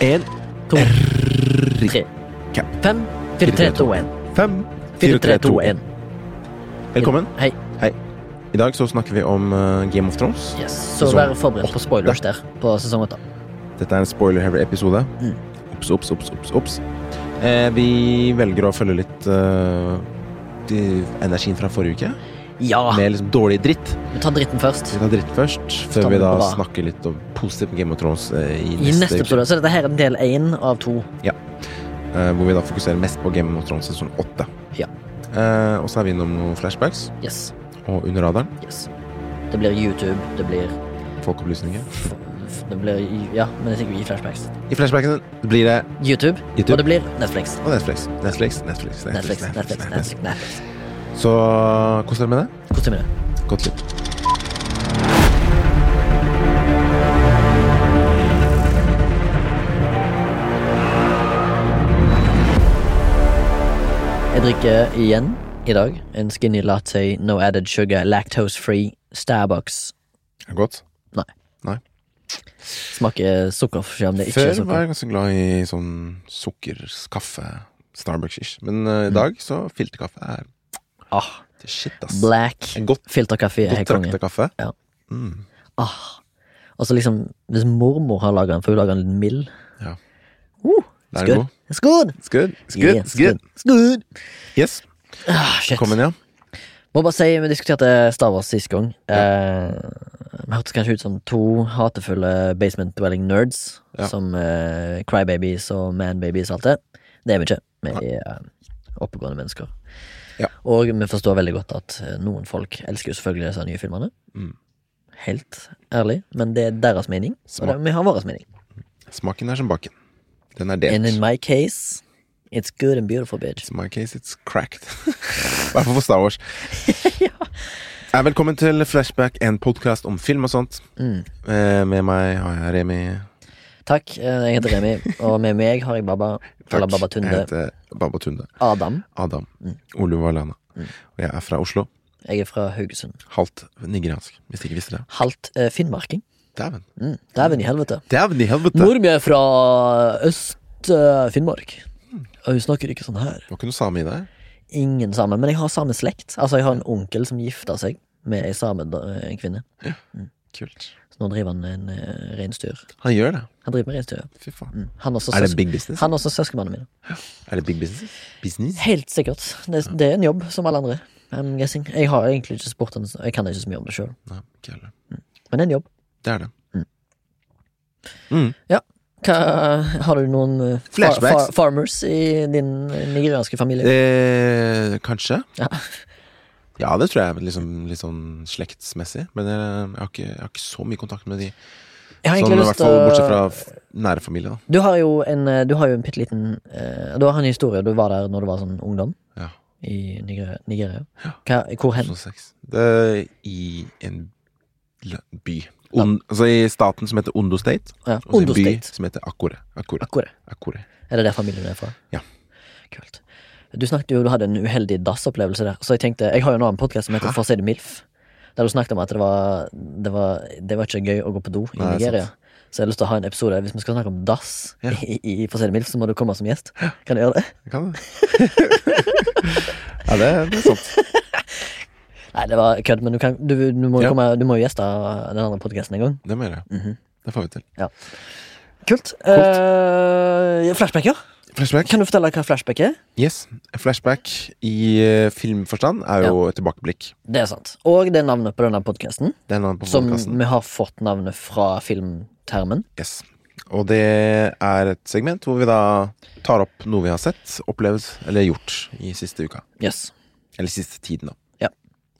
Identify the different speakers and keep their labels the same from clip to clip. Speaker 1: Én, to, tre. Fem, fire, tre, to, én.
Speaker 2: Fem,
Speaker 1: Fire, tre, to, én.
Speaker 2: Velkommen.
Speaker 1: Hei.
Speaker 2: I dag så snakker vi om eh, Game of Thrones.
Speaker 1: Yes. Så
Speaker 2: Sesong
Speaker 1: vær forberedt på spoilers der på sesong åtte.
Speaker 2: Dette er en spoiler-heavy episode.
Speaker 1: Mm.
Speaker 2: Ops, ops, ops, ops, ops. Eh, vi velger å følge litt eh, de- energien fra forrige uke,
Speaker 1: Ja,
Speaker 2: med liksom dårlig dritt.
Speaker 1: vi tar dritten først.
Speaker 2: Vi tar dritt først,
Speaker 1: Ta
Speaker 2: før vi
Speaker 1: den
Speaker 2: da
Speaker 1: på bra.
Speaker 2: snakker litt om positivt med Game of Thrones eh, i,
Speaker 1: I neste episode. Så dette her er del én av to.
Speaker 2: eh, hvor vi da fokuserer mest på Game of Thrones sesong åtte.
Speaker 1: Ja.
Speaker 2: Eh, og så er vi innom noen flashbacks
Speaker 1: Yes.
Speaker 2: og under radaren.
Speaker 1: yes. Det blir YouTube, det blir
Speaker 2: Folkeopplysninger.
Speaker 1: Det blir Ja, men det er sikkert i flashbacks.
Speaker 2: I flashbacken blir det
Speaker 1: YouTube,
Speaker 2: YouTube.
Speaker 1: og det blir Netflix.
Speaker 2: og Netflix. Netflix, Netflix,
Speaker 1: Netflix, Netflix, Netflix. Netflix.
Speaker 2: Så kos dere med det.
Speaker 1: Kos deg med det.
Speaker 2: Godt lytt.
Speaker 1: Jeg drikker igjen i dag en skinny latte, no added sugar, lactose free, Starbucks.
Speaker 2: Godt.
Speaker 1: Nei.
Speaker 2: Nei.
Speaker 1: Smaker sukker, selv om det ikke
Speaker 2: Før
Speaker 1: er
Speaker 2: var
Speaker 1: sukker.
Speaker 2: jeg ganske glad i sånn sukkerskaffe. Starbucks-ish. Men
Speaker 1: Mm.
Speaker 2: eh, i dag så filterkaffe er
Speaker 1: Ah,
Speaker 2: det er shit, ass.
Speaker 1: black
Speaker 2: En godt,
Speaker 1: filterkaffe er
Speaker 2: godt
Speaker 1: helt konge.
Speaker 2: traktekaffe.
Speaker 1: Ja.
Speaker 2: Mm.
Speaker 1: Ah. Og så liksom, hvis mormor har laga den, for hun lager den litt mild
Speaker 2: Ja.
Speaker 1: Uh,
Speaker 2: Det er
Speaker 1: Skål.
Speaker 2: god.
Speaker 1: Skål!
Speaker 2: Skudd, skudd,
Speaker 1: Yeah,
Speaker 2: skudd.
Speaker 1: Skål!
Speaker 2: Yes.
Speaker 1: Ah, shit.
Speaker 2: Kom igjen, ja.
Speaker 1: Må bare si, vi diskuterte Star Wars sist gang. Eh, Vi hørtes kanskje ut som to hatefulle basement dwelling nerds.
Speaker 2: Ja.
Speaker 1: Som eh, crybabies og manbabies og alt det. Det er vi ikke. Vi er eh, oppegående mennesker.
Speaker 2: Ja.
Speaker 1: Og vi forstår veldig godt at eh, noen folk elsker jo selvfølgelig disse nye filmene.
Speaker 2: Mm.
Speaker 1: Helt ærlig. Men det er deres mening, og
Speaker 2: Smart.
Speaker 1: det, vi har vår mening.
Speaker 2: Smaken er som baken. Den er
Speaker 1: And in
Speaker 2: delt.
Speaker 1: my case, it's good and beautiful, bitch.
Speaker 2: In my case, it's cracked. I hvert fall for Star Wars. Eh, Velkommen til Flashback, en podkast om film og sånt.
Speaker 1: Mm.
Speaker 2: Eh, Med meg har jeg Remi.
Speaker 1: Takk. eh, Jeg heter Remi, og med meg har jeg Baba. Eller Baba
Speaker 2: Jeg
Speaker 1: Tunde.
Speaker 2: heter Baba Tunde.
Speaker 1: Adam.
Speaker 2: Adam. Oluva Lana. Og jeg er fra Oslo.
Speaker 1: Jeg er fra Haugesund.
Speaker 2: Halvt nigeriansk, hvis dere ikke visste det.
Speaker 1: Halvt eh, finnmarking.
Speaker 2: Dæven.
Speaker 1: Mm. Dæven i helvete.
Speaker 2: Dæven i helvete!
Speaker 1: Mor mi er fra Øst-Finnmark. Og hun snakker ikke sånn her.
Speaker 2: Det var ikke noe same i deg.
Speaker 1: Ingen same, men jeg har same slekt. Altså, jeg har en onkel som gifta seg med ei samekvinne.
Speaker 2: Kult.
Speaker 1: Så nå driver han en eh, reinsdyr.
Speaker 2: Han gjør det.
Speaker 1: Han driver med reinsdyr, ja.
Speaker 2: Fy faen.
Speaker 1: Mm. Han er også,
Speaker 2: Er det
Speaker 1: søs-
Speaker 2: big business?
Speaker 1: han er også søskenbarna mine.
Speaker 2: Er det big business? Business?
Speaker 1: Helt sikkert. Det, det er en jobb, som alle andre. I'm guessing. Jeg har egentlig ikke spurt han, jeg kan ikke så mye om det sjøl.
Speaker 2: Nei, ikke heller.
Speaker 1: Men det er en jobb.
Speaker 2: Det er det. Mm.
Speaker 1: Hva, har du noen eh, far,
Speaker 2: Flashbacks.
Speaker 1: far, farmers i din eh, nigerianske familie?
Speaker 2: Eh, kanskje.
Speaker 1: Ja.
Speaker 2: Ja, det tror jeg. men Liksom, litt sånn slektsmessig. Men jeg, jeg, har ikke, jeg har ikke så mye kontakt med de.
Speaker 1: Jeg har
Speaker 2: Sånn,
Speaker 1: egentlig
Speaker 2: i
Speaker 1: lyst
Speaker 2: hvert
Speaker 1: til
Speaker 2: fall
Speaker 1: å-
Speaker 2: Bortsett fra f- nære familie, da.
Speaker 1: Du har jo en, eh, du har jo en bitte liten eh, Du har en historie. Du var der når du var sånn ungdom
Speaker 2: Ja.
Speaker 1: i Nigeria. Nigeria.
Speaker 2: Ja.
Speaker 1: Hva, hvor hen?
Speaker 2: Oslo 6. Det er i en l- by. On, altså i staten som heter Ondo State.
Speaker 1: Ja.
Speaker 2: Og så
Speaker 1: Ondo
Speaker 2: en by
Speaker 1: State.
Speaker 2: som heter Akure. Akure.
Speaker 1: Akkurat.
Speaker 2: Akure.
Speaker 1: Er det der familien er fra?
Speaker 2: Ja.
Speaker 1: Kult. Du snakket jo, du hadde en uheldig dassopplevelse der, så jeg tenkte Jeg har jo en annen podkast som heter
Speaker 2: Hæ?
Speaker 1: For å si det MILF, der du snakket om at det var, det var, det var ikke gøy å gå på do i
Speaker 2: Nei,
Speaker 1: Nigeria.
Speaker 2: sant.
Speaker 1: Så jeg har lyst til å ha en episode Hvis vi skal snakke om dass
Speaker 2: Ja.
Speaker 1: i, i For å si det MILF, så må du komme som gjest. Kan du gjøre det?
Speaker 2: Jeg kan det. ja, det, det er sant.
Speaker 1: Nei, det var kødd, men du, kan, du, du, må, jo
Speaker 2: Ja.
Speaker 1: komme, du må jo gjeste den andre podkasten en gang.
Speaker 2: Det må jeg gjøre.
Speaker 1: Mhm.
Speaker 2: Det får vi til.
Speaker 1: Kult. Eh, flashbacker.
Speaker 2: Flashback.
Speaker 1: Kan du fortelle hva flashback er?
Speaker 2: Yes. Flashback i eh, filmforstand er jo et tilbakeblikk.
Speaker 1: Det er sant. Og det er navnet på denne podkasten,
Speaker 2: Det er navnet på
Speaker 1: som
Speaker 2: podkasten.
Speaker 1: vi har fått navnet fra filmtermen.
Speaker 2: Yes. Og det er et segment hvor vi da tar opp noe vi har sett, opplevd eller gjort i siste uka.
Speaker 1: Yes.
Speaker 2: Eller siste tiden, da.
Speaker 1: Ja.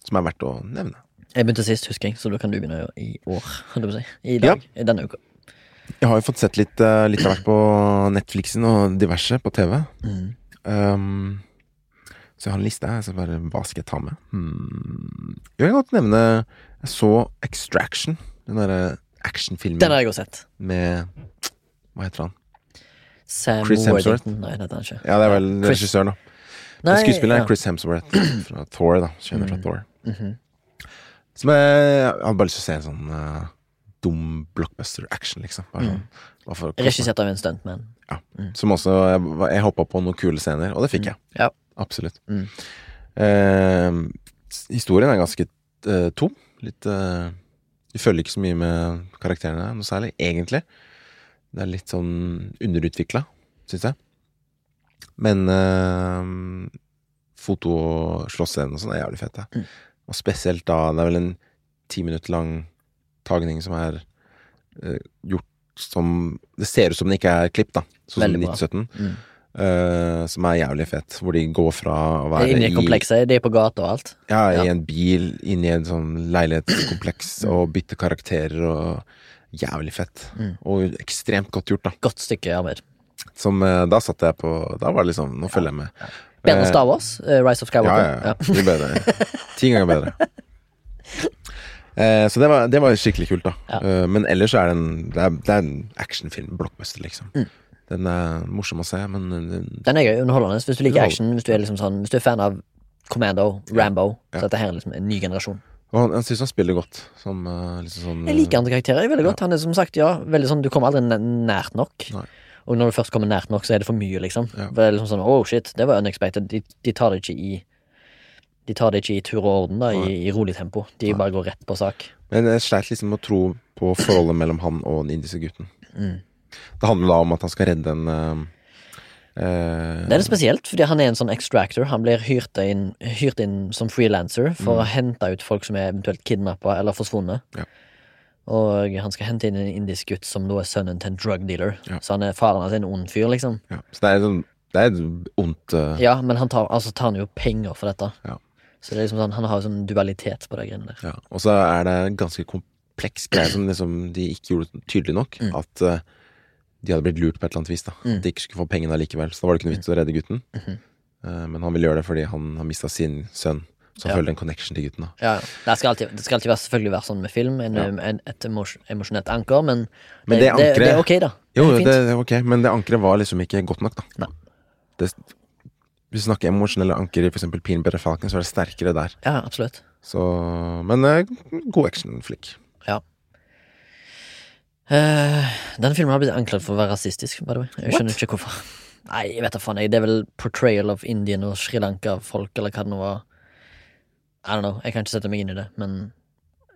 Speaker 2: Som er verdt å nevne.
Speaker 1: Jeg begynte sist, husker jeg, så da kan du begynne i år. Holdt jeg på å si. I dag. I denne uka.
Speaker 2: Jeg har jo fått sett litt, eh, litt av hvert på Netflixen og diverse på TV. Mm.
Speaker 1: Mhm.
Speaker 2: Um, så jeg har en liste her. Så bare, hva skal jeg ta med? Hmm. Jeg kan godt nevne Jeg så Extraction. Den derre actionfilmen
Speaker 1: Den har jeg også sett.
Speaker 2: med Hva heter han?
Speaker 1: Sam
Speaker 2: Chris Hemsworth.
Speaker 1: Worthington. Nei, det heter han ikke.
Speaker 2: Ja, det er vel
Speaker 1: Chris-
Speaker 2: regissøren, da.
Speaker 1: Nei,
Speaker 2: Men Skuespilleren
Speaker 1: ja.
Speaker 2: er Chris Hemsworth fra Thor, da. Kjenner fra Thor.
Speaker 1: Mhm. Mm.
Speaker 2: Som jeg, jeg hadde bare lyst til å se en sånn eh, dum blockbuster action, liksom. Bare sånn Bare for å kose meg.
Speaker 1: Regissert av en stuntman.
Speaker 2: Som også Jeg, var- jeg hoppa på noen kule scener, og det fikk jeg.
Speaker 1: Ja.
Speaker 2: Absolutt.
Speaker 1: Mm.
Speaker 2: Eh, s- historien er ganske eh, tom. Litt eh, Du følger ikke så mye med karakterene noe særlig, egentlig. Det er litt sånn underutvikla, syns jeg. Men eh, foto- og slåssscenen og sånn er jævlig fett.
Speaker 1: Mm.
Speaker 2: Og spesielt da Det er vel en ti minutter lang tagning som er eh, gjort som Det ser ut som den ikke er klipp, da. Sånn som
Speaker 1: Veldig bra.
Speaker 2: 1917.
Speaker 1: Mm.
Speaker 2: eh, som er jævlig fett. Hvor de går fra å
Speaker 1: Det er
Speaker 2: være
Speaker 1: Inni komplekset. De er på gata og alt.
Speaker 2: ja, i
Speaker 1: Ja.
Speaker 2: en bil, inn i en sånn leilighetskompleks og bytte karakterer og Jævlig fett.
Speaker 1: Mm.
Speaker 2: Og ekstremt godt gjort, da.
Speaker 1: Godt stykke arbeid.
Speaker 2: Som eh, Da satt jeg på Da var det liksom Nå følger jeg med.
Speaker 1: Bedre enn
Speaker 2: Eh,
Speaker 1: Star Wars. eh, Rise of
Speaker 2: Ja,
Speaker 1: Skywalker.
Speaker 2: ja, ja. Mye bedre. Ti ganger bedre. Eh, så det var, det var skikkelig kult, da.
Speaker 1: Ja.
Speaker 2: Eh, men ellers er det en Det er, det er en actionfilm, blockbuster, liksom.
Speaker 1: Mm.
Speaker 2: Den er morsom å se, men den-
Speaker 1: Den er gøy, underholdende. Hvis du liker
Speaker 2: Underhold-
Speaker 1: action, hvis du er, liksom sånn, hvis du er fan av Commando, Rambo,
Speaker 2: Ja.
Speaker 1: så er dette her liksom en ny generasjon.
Speaker 2: og han, jeg syns han spiller godt. Som eh, liksom sånn
Speaker 1: Jeg liker andre karakterer veldig godt. Han er som sagt, ja, veldig sånn, Du kommer aldri næ- nært nok.
Speaker 2: Nei.
Speaker 1: Og når du først kommer nært nok, så er det for mye, liksom.
Speaker 2: Ja.
Speaker 1: For det er liksom sånn, oh shit, det var unexpected. De, de tar det ikke i De tar det ikke i tur og orden, da, i, i rolig tempo. De bare går rett på sak.
Speaker 2: Men jeg sleit liksom med å tro på forholdet mellom han og den indiske gutten.
Speaker 1: Mm.
Speaker 2: Det handler da om at han skal redde en eh, eh,
Speaker 1: Det er litt spesielt, fordi han er en sånn extractor. Han blir hyrt inn, hyrt inn som frilanser for å hente ut folk som er eventuelt kidnappa eller forsvunnet.
Speaker 2: Mm. Ja.
Speaker 1: Og han skal hente inn en indisk gutt som nå er sønnen til en drug dealer.
Speaker 2: Ja.
Speaker 1: Så han er faren hans er en ond fyr, liksom.
Speaker 2: ja. Så det er, sånn- det er et ondt eh,
Speaker 1: Ja, men han tar, altså, tar han jo penger for dette.
Speaker 2: Ja.
Speaker 1: Så det er liksom sånn, han har jo sånn dualitet på de greiene der.
Speaker 2: Ja, og så er det en ganske kompleks greie som liksom de ikke gjorde tydelig nok.
Speaker 1: Mm.
Speaker 2: At eh, de hadde blitt lurt på et eller annet vis. da At de ikke skulle få pengene allikevel. Så da var det ikke noe vits å redde gutten.
Speaker 1: Mm-hmm.
Speaker 2: Eh, men han ville gjøre det fordi han har mista sin sønn. Så han
Speaker 1: Ja.
Speaker 2: føler en connection til gutten. da
Speaker 1: Det skal alltid, det skal alltid være, selvfølgelig være sånn med film, en, en, et emosj- emosjonelt anker, men,
Speaker 2: Men det ankeret-
Speaker 1: det er ok, da.
Speaker 2: Jo,
Speaker 1: det er fint.
Speaker 2: det, er ok, men det ankeret var liksom ikke godt nok, da.
Speaker 1: Nei.
Speaker 2: Det, hvis du snakker emosjonelle anker i for eksempel Peanbutter Falcon, så er det sterkere der.
Speaker 1: Ja, absolutt.
Speaker 2: Så, men eh, god actionflick.
Speaker 1: Ja. Eh, den filmen har blitt anklaget for å være rasistisk. By the way. Jeg skjønner ikke hvorfor. Nei, jeg vet da faen. jeg. Det er vel portrayal of Indian og Sri Lanka-folk, eller hva det nå var. I don't know. Jeg kan ikke sette meg inn i det, men
Speaker 2: Mm.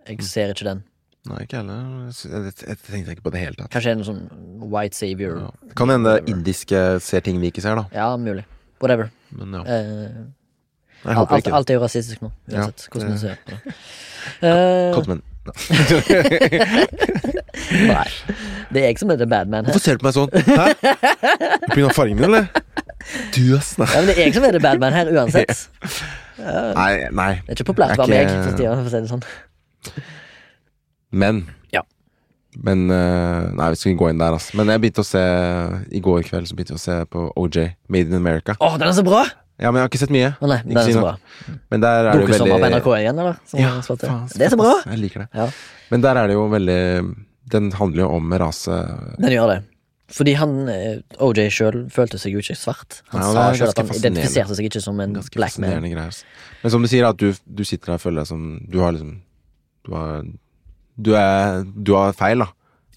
Speaker 1: jeg ser ikke den.
Speaker 2: Nei, ikke heller. Jeg, jeg, jeg tenkte ikke på det hele tatt.
Speaker 1: Kanskje en sånn white savior.
Speaker 2: Ja. Kan hende indiske ser ting vi ikke ser, da.
Speaker 1: Ja, mulig. Whatever.
Speaker 2: Men ja,
Speaker 1: Eh,
Speaker 2: jeg
Speaker 1: alt,
Speaker 2: håper
Speaker 1: alt,
Speaker 2: ikke det.
Speaker 1: alt er jo rasistisk nå,
Speaker 2: Ja,
Speaker 1: uansett hvordan du
Speaker 2: det-
Speaker 1: ser på det. Eh,
Speaker 2: Godt, men
Speaker 1: nei. Det er jeg som er the bad man her.
Speaker 2: Hvorfor ser du på meg sånn? Hæ? Pga. fargen min, eller? Du, ass. Nei,
Speaker 1: Ja, men det er jeg som er the bad man her, uansett.
Speaker 2: nei. nei.
Speaker 1: Det er ikke populært å være
Speaker 2: Jeg er
Speaker 1: meg,
Speaker 2: ikke-
Speaker 1: for tida, for å si det sånn.
Speaker 2: Men
Speaker 1: Ja.
Speaker 2: Men eh, Nei, vi skal ikke gå inn der, ass. Men jeg begynte å se I går kveld så begynte jeg å se på OJ, Made in America.
Speaker 1: Å, den er så bra!
Speaker 2: Ja, men jeg har ikke sett mye.
Speaker 1: Å nei,
Speaker 2: Ikke
Speaker 1: den er
Speaker 2: si
Speaker 1: så
Speaker 2: noe.
Speaker 1: bra.
Speaker 2: Men der er det jo
Speaker 1: Dukkesommer på
Speaker 2: veldig
Speaker 1: NRK igjen, eller? Som har slått det.
Speaker 2: faen,
Speaker 1: det er så bra!
Speaker 2: ass. Jeg liker det.
Speaker 1: Ja.
Speaker 2: Men der er det jo veldig Den handler jo om rase
Speaker 1: Den gjør det. Fordi han, eh, OJ sjøl, følte seg jo ikke svart. Han
Speaker 2: Nei, og
Speaker 1: sa
Speaker 2: det er
Speaker 1: sjøl at
Speaker 2: ganske
Speaker 1: han
Speaker 2: fascinerende.
Speaker 1: identifiserte seg ikke som en
Speaker 2: Ganske
Speaker 1: black man.
Speaker 2: fascinerende greier. ass. Men som du sier, at du, du sitter der og føler deg som Du har liksom Du har Du er Du har feil, da.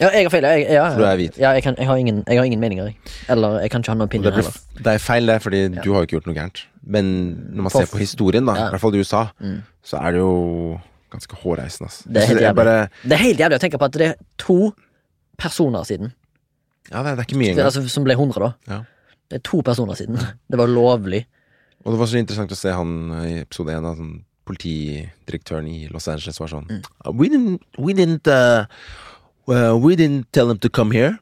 Speaker 1: Ja, jeg har feil. Jeg, ja,
Speaker 2: For du er hvit.
Speaker 1: Ja, jeg, kan, jeg, har ingen, jeg har ingen meninger, jeg. Eller jeg kan ikke ha noen
Speaker 2: Og Det,
Speaker 1: opinion
Speaker 2: blir,
Speaker 1: heller.
Speaker 2: f- det er feil, det, fordi du har jo ikke gjort noe gærent. Men når man ser på historien, da, i hvert fall i USA, så er det jo ganske hårreisende, ass.
Speaker 1: Mm. Det er helt
Speaker 2: Så jeg
Speaker 1: jævlig.
Speaker 2: bare,
Speaker 1: Det er helt jævlig å tenke på at det er to personer siden,
Speaker 2: ja, det er, det er ikke mye engang.
Speaker 1: altså, som ble 100, da.
Speaker 2: Ja.
Speaker 1: Det er to personer siden. Det var lovlig. altså-
Speaker 2: Og det var så interessant å se han eh, i episode én, sånn, politidirektøren i Los Angeles var sånn
Speaker 1: Mm.
Speaker 2: We didn't, we didn't, uh, well, we didn't tell them to come here.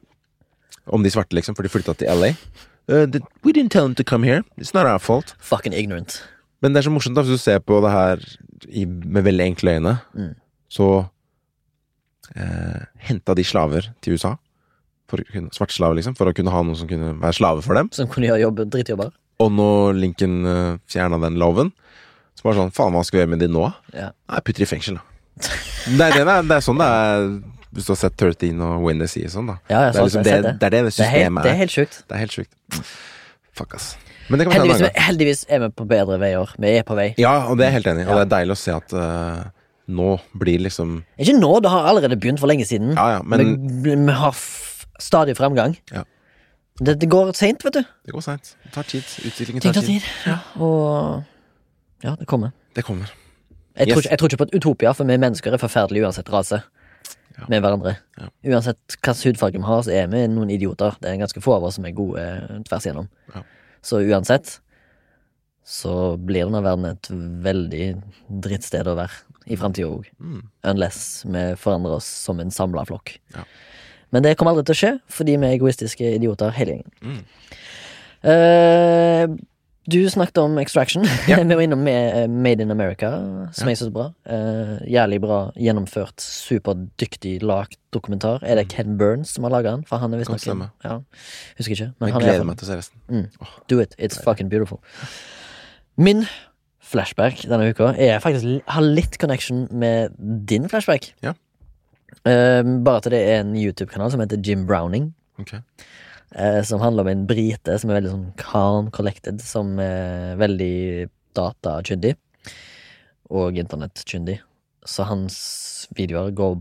Speaker 2: Om de svarte, liksom, for de flytta til LA. Uh, the, we didn't tell them to come here. It's not our fault.
Speaker 1: Fucking ignorant.
Speaker 2: Men det er så morsomt da, hvis du ser på det her i, med veldig enkle øyne.
Speaker 1: Mm.
Speaker 2: Så eh, henta de slaver til USA, for, å kunne- svarte slaver liksom, for å kunne ha noen som kunne være slave for dem.
Speaker 1: Som kunne gjøre jobb, drittjobber.
Speaker 2: Og når Lincoln eh, fjerna den loven, så var det sånn Faen, hva skal vi gjøre med de nå?
Speaker 1: Ja.
Speaker 2: Nei, putter de i fengsel, da. Nei, det, er, det er sånn det er hvis du har sett 13 og When They See og sånn, da.
Speaker 1: Ja,
Speaker 2: Det
Speaker 1: jeg
Speaker 2: er,
Speaker 1: sa
Speaker 2: liksom
Speaker 1: det,
Speaker 2: det,
Speaker 1: jeg sa det.
Speaker 2: det er det
Speaker 1: Det er helt,
Speaker 2: systemet
Speaker 1: det er
Speaker 2: er.
Speaker 1: helt sjukt.
Speaker 2: Det er helt sjukt. Fuck, ass. Men det kan vi ta en
Speaker 1: Heldigvis,
Speaker 2: annen gang.
Speaker 1: heldigvis er vi på bedre veier. Vi er på vei.
Speaker 2: Ja, og det er jeg helt enig i. Og det er deilig å se at eh, nå blir liksom
Speaker 1: Ikke nå, det har allerede begynt for lenge siden.
Speaker 2: Ja, ja, men
Speaker 1: vi, vi har f stadig fremgang.
Speaker 2: Ja.
Speaker 1: Det, det går seint, vet du.
Speaker 2: Det går seint. Det tar tid. Utviklingen
Speaker 1: Ting
Speaker 2: tar
Speaker 1: tar
Speaker 2: tid.
Speaker 1: tid. Og ja, det kommer.
Speaker 2: Det kommer.
Speaker 1: Jeg, tror
Speaker 2: Yes.
Speaker 1: ikke, jeg tror ikke på et utopia, for vi mennesker er forferdelige uansett rase.
Speaker 2: Ja.
Speaker 1: Med hverandre.
Speaker 2: Ja.
Speaker 1: Uansett hva slags hudfarge vi har, så er vi noen idioter. Det er ganske få av oss som er gode eh, tvers igjennom.
Speaker 2: Ja.
Speaker 1: Så uansett så blir denne verden et veldig drittsted å være i framtida òg.
Speaker 2: Mm.
Speaker 1: Unless vi forandrer oss som en samla flokk.
Speaker 2: Ja.
Speaker 1: Men det kommer aldri til å skje, fordi vi er egoistiske idioter hele gjengen.
Speaker 2: Mm.
Speaker 1: Eh, du snakket om Extraction.
Speaker 2: Ja.
Speaker 1: vi var innom eh, Made in America, som jeg synes er bra. Eh, jævlig bra gjennomført, superdyktig lagt dokumentar. Er det Ken Burns som har laga den? For han er
Speaker 2: Mm. Kan
Speaker 1: visstnok
Speaker 2: stemme.
Speaker 1: ja. Husker ikke. Men
Speaker 2: Jeg
Speaker 1: han er i hvert
Speaker 2: gleder
Speaker 1: fall-
Speaker 2: meg til å se resten.
Speaker 1: Do it. It's fucking beautiful. Min flashback denne uka er faktisk, har litt connection med din flashback.
Speaker 2: Ja.
Speaker 1: Eh, bare at det er en YouTube-kanal som heter Jim Browning
Speaker 2: Ok.
Speaker 1: eh, som handler om en brite som er veldig sånn calm collected, som er veldig datakyndig og internettkyndig. Så hans videoer går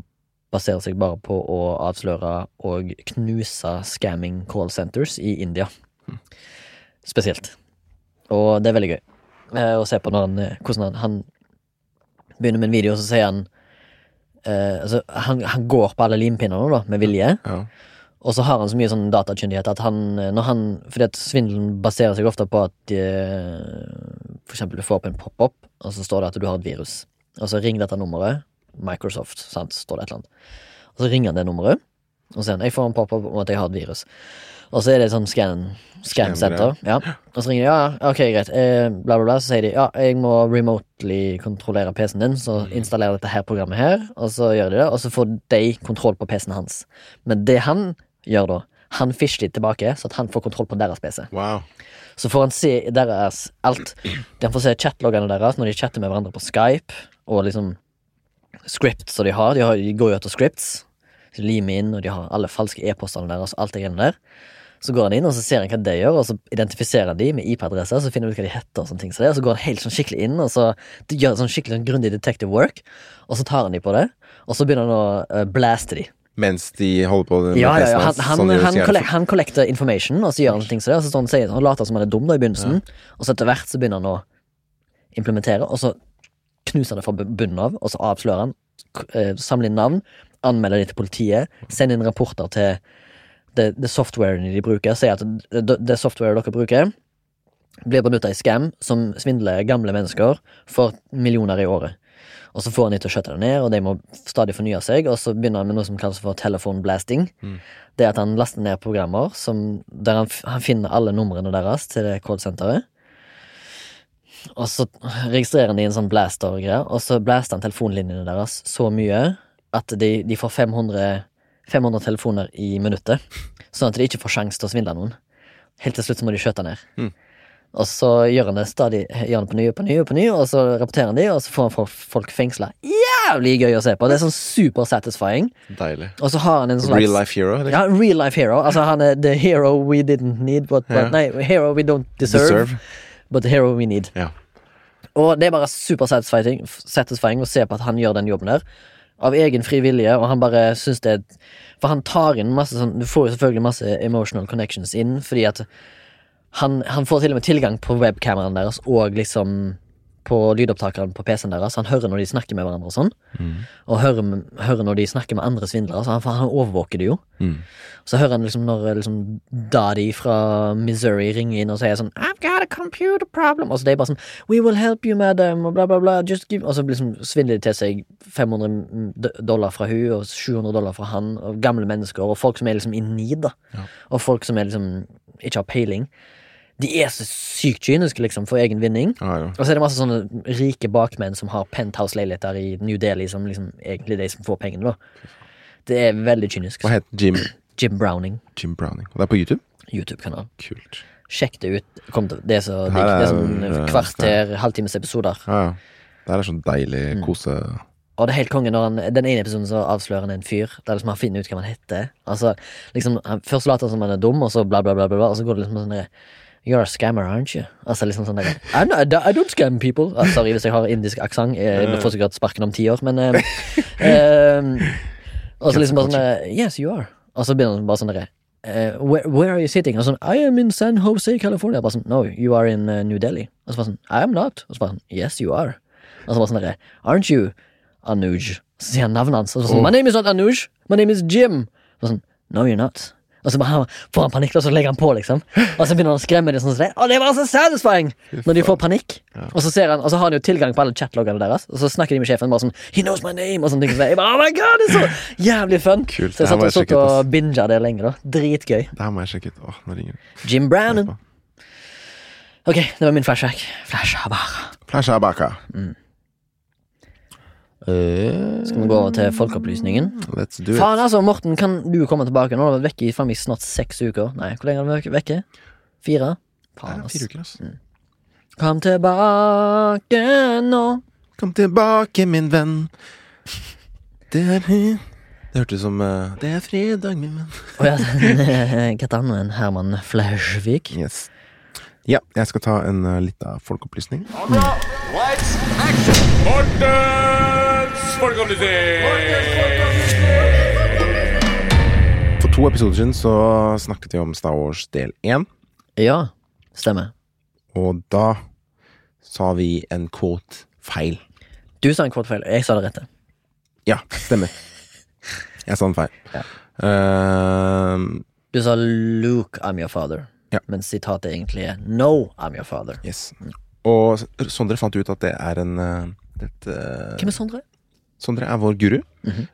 Speaker 1: baserer seg bare på å avsløre og knuse scamming call centers i India. Spesielt. Og det er veldig gøy eh, å se på når han, eh, hvordan han, han begynner med en video, så sier han eh, altså, han, han går på alle limpinnene da, med vilje.
Speaker 2: Ja.
Speaker 1: Og så har han så mye sånn datakyndighet at han, eh, når han Fordi at svindelen baserer seg ofte på at eh, de, For eksempel du får opp en pop-up, og så står det at du har et virus. Og så ring dette nummeret. Microsoft, sant, står det et eller annet. Og så ringer han det nummeret, og så sier han jeg får en pop-up om at jeg har et virus. Og så er det et sånn scan, scan center. Ja. Og så ringer de, ja, ok, greit, eh, bla, bla, bla. Så sier de, ja, jeg må remotely kontrollere PC-en din, så installer jeg dette her programmet her, og så gjør de det, og så får de kontroll på PC-en hans. Men det han gjør da, han fisher de tilbake, så at han får kontroll på deres PC.
Speaker 2: Wow.
Speaker 1: Så får han se deres alt. Han får se chatloggene deres når de chatter med hverandre på Skype, og liksom scripts som de har. De, har, de går jo etter scripts. Så de limer inn, og de har alle falske e-postene deres. Alt det greiene der. Så går han inn og så ser han hva de gjør, og så identifiserer han de med IP-adresser. Så finner han ut hva de heter, og sånne ting som det, og så går han helt sånn skikkelig inn og så de gjør sånn skikkelig sånn grundig detective work. Og så tar han de på det, og så begynner han å eh, blaste de.
Speaker 2: Mens de holder på med
Speaker 1: Ja, ja, ja.
Speaker 2: testen
Speaker 1: Han,
Speaker 2: hans,
Speaker 1: han,
Speaker 2: sånn de
Speaker 1: han,
Speaker 2: sier.
Speaker 1: collect, han collecter information, og så gjør han ting som det. Og så står han, og sier, han later som han er dum da i begynnelsen, og så etter hvert så begynner han å implementere, og så knuser han det fra bu- bunnen av, og så avslører han, k- eh, samler inn navn, anmelder de til politiet, sender inn rapporter til det, det softwaren de bruker, sier at det, det software dere bruker, blir benytta i scam som svindler gamle mennesker for millioner i året. Og så får han de til å skjøtte det ned, og de må stadig fornye seg, og så begynner han med noe som kalles for telefonblasting. Det er at han laster ned programmer som, der han, f- han finner alle numrene deres til det callsenteret. Og så registrerer han de i en sånn blaster-greie, og så blaster han telefonlinjene deres så mye at de, de får 500, 500 telefoner i minuttet, sånn at de ikke får sjans til å svindle noen. Helt til slutt så må de skjøte ned.
Speaker 2: Mm.
Speaker 1: Og så gjør han det stadig gjør han det på ny og på ny, og på ny, og så rapporterer han de, og så får han folk- folk fengsla. Jævlig gøy å se på! Det er sånn super satisfying.
Speaker 2: Deilig.
Speaker 1: Og så har han en slags
Speaker 2: Real life hero. eller?
Speaker 1: Sånn ja, real life hero. Altså han er the hero we didn't need, but, but
Speaker 2: Ja.
Speaker 1: Nei, hero we don't deserve,
Speaker 2: Deserve.
Speaker 1: but the hero we need.
Speaker 2: Ja.
Speaker 1: Og det er bare super satisfying, satisfying å se på at han gjør den jobben der. Av egen fri vilje, og han bare syns det er For han tar inn masse sånn Du får jo selvfølgelig masse emotional connections inn, fordi at han, han får til og med tilgang på webkameraen deres og liksom på lydopptakeren på PC-en deres. Han hører når de snakker med hverandre og sånn.
Speaker 2: Mm.
Speaker 1: Og hører, hører når de snakker med andre svindlere. Så han, for han overvåker det jo.
Speaker 2: Mm.
Speaker 1: Så hører han liksom når liksom Daddy fra Missouri ringer inn og sier sånn I've got a computer problem. Og så det er bare sånn We will help you, madam, og bla, bla, bla. Just give Og så liksom svindler de til seg 500 d- dollar fra hun og 700 dollar fra han, og gamle mennesker og folk som er liksom i need, da.
Speaker 2: Ja.
Speaker 1: Og folk som er liksom ikke har peiling. De er så sykt kyniske, liksom, for egen vinning.
Speaker 2: Ja, ja.
Speaker 1: Og så er det masse sånne rike bakmenn som har penthouse-leiligheter i New Delhi, som liksom egentlig er de som får pengene, da. Det er veldig kynisk.
Speaker 2: Hva heter Jim?
Speaker 1: Jim Browning,
Speaker 2: Jim Browning. Og det er på YouTube?
Speaker 1: YouTube-kanal.
Speaker 2: Kult.
Speaker 1: Sjekk det ut. Kom til, det er så
Speaker 2: Det
Speaker 1: digg.
Speaker 2: her
Speaker 1: Det er
Speaker 2: er-
Speaker 1: sånn kvarter, halvtimes episoder.
Speaker 2: Ja, ja. Det her er sånn deilig
Speaker 1: Mm.
Speaker 2: kose...
Speaker 1: Og det er helt konge når han Den ene episoden så avslører han en fyr. Der liksom han finner ut hva han heter. Altså, liksom, han, først later han som han er dum, og så bla, bla, bla, bla, bla og så går det liksom sånn der, You're a scammer, aren't you? Altså liksom sånn der, I, know- I don't scam people. Ah, sorry hvis jeg har indisk aksent. Nå får jeg sikkert sparken om ti år, men eh, eh, Og så liksom bare sånn eh, Yes, you are. Og så begynner han bare sånn derre eh, where, where are you sitting? Og sånn I am in San Jose, California. Bare sånn No, you are in eh, New Delhi. Og så bare sånn I am not. Og så bare sånn Yes, you are. Og så bare sånn derre Aren't you Anuj? Så sier han navnet hans. Og så bare sånn My name is not Anuj. My name is Jim. Og sånn No, you're not. Og så bare får han panikk, og så legger han på, liksom. Og så begynner han å skremme dem sånn som det. Og det var så satisfying! Når de får panikk. Og så ser han, og så har han jo tilgang på alle chatloggene deres. Og så snakker de med sjefen bare sånn He knows my name! Og sånne ting. som det. Jeg bare, oh my god, det er så jævlig fun!
Speaker 2: Kult.
Speaker 1: Så jeg
Speaker 2: Det her må
Speaker 1: satt og,
Speaker 2: jeg
Speaker 1: satt
Speaker 2: sjekke ut,
Speaker 1: og binga det lenge, da. Dritgøy.
Speaker 2: Det her må jeg sjekke ut. Åh, nå ringer det.
Speaker 1: Jim Brownon. Ok, det var min flashback. Flashback.
Speaker 2: Flashabaka.
Speaker 1: Skal vi gå over til folkeopplysningen?
Speaker 2: Let's do it.
Speaker 1: Faen, altså, Morten, kan du komme tilbake? Nå har du vært vekke i faen meg snart seks uker. Nei, hvor lenge har du vært vekke? Fire?
Speaker 2: Det
Speaker 1: Faen,
Speaker 2: er
Speaker 1: ass.
Speaker 2: fire uker, ass.
Speaker 1: Kom tilbake nå.
Speaker 2: Kom tilbake, min venn. Det er fri- Det hørtes ut som eh, Det er fredag, min venn.
Speaker 1: Å ja, hva annet enn Herman Flashvik?
Speaker 2: Yes. Ja, jeg skal ta en uh, lita folkeopplysning.
Speaker 3: Lights, action!
Speaker 4: Mortens folkeopplysning!
Speaker 2: For to episoder siden så snakket vi om Star Wars del én,
Speaker 1: Ja, stemmer.
Speaker 2: og da sa vi en quote feil.
Speaker 1: Du sa en kvart feil, jeg sa det rette.
Speaker 2: Ja, stemmer. Jeg sa den feil. Ehm,
Speaker 1: Du sa 'Luke, I'm your father',
Speaker 2: Ja.
Speaker 1: men sitatet egentlig er 'No, I'm your father'.
Speaker 2: yes. Og Sondre fant ut at det er en eh, et, eh,
Speaker 1: Hvem er Sondre?
Speaker 2: Sondre er vår guru.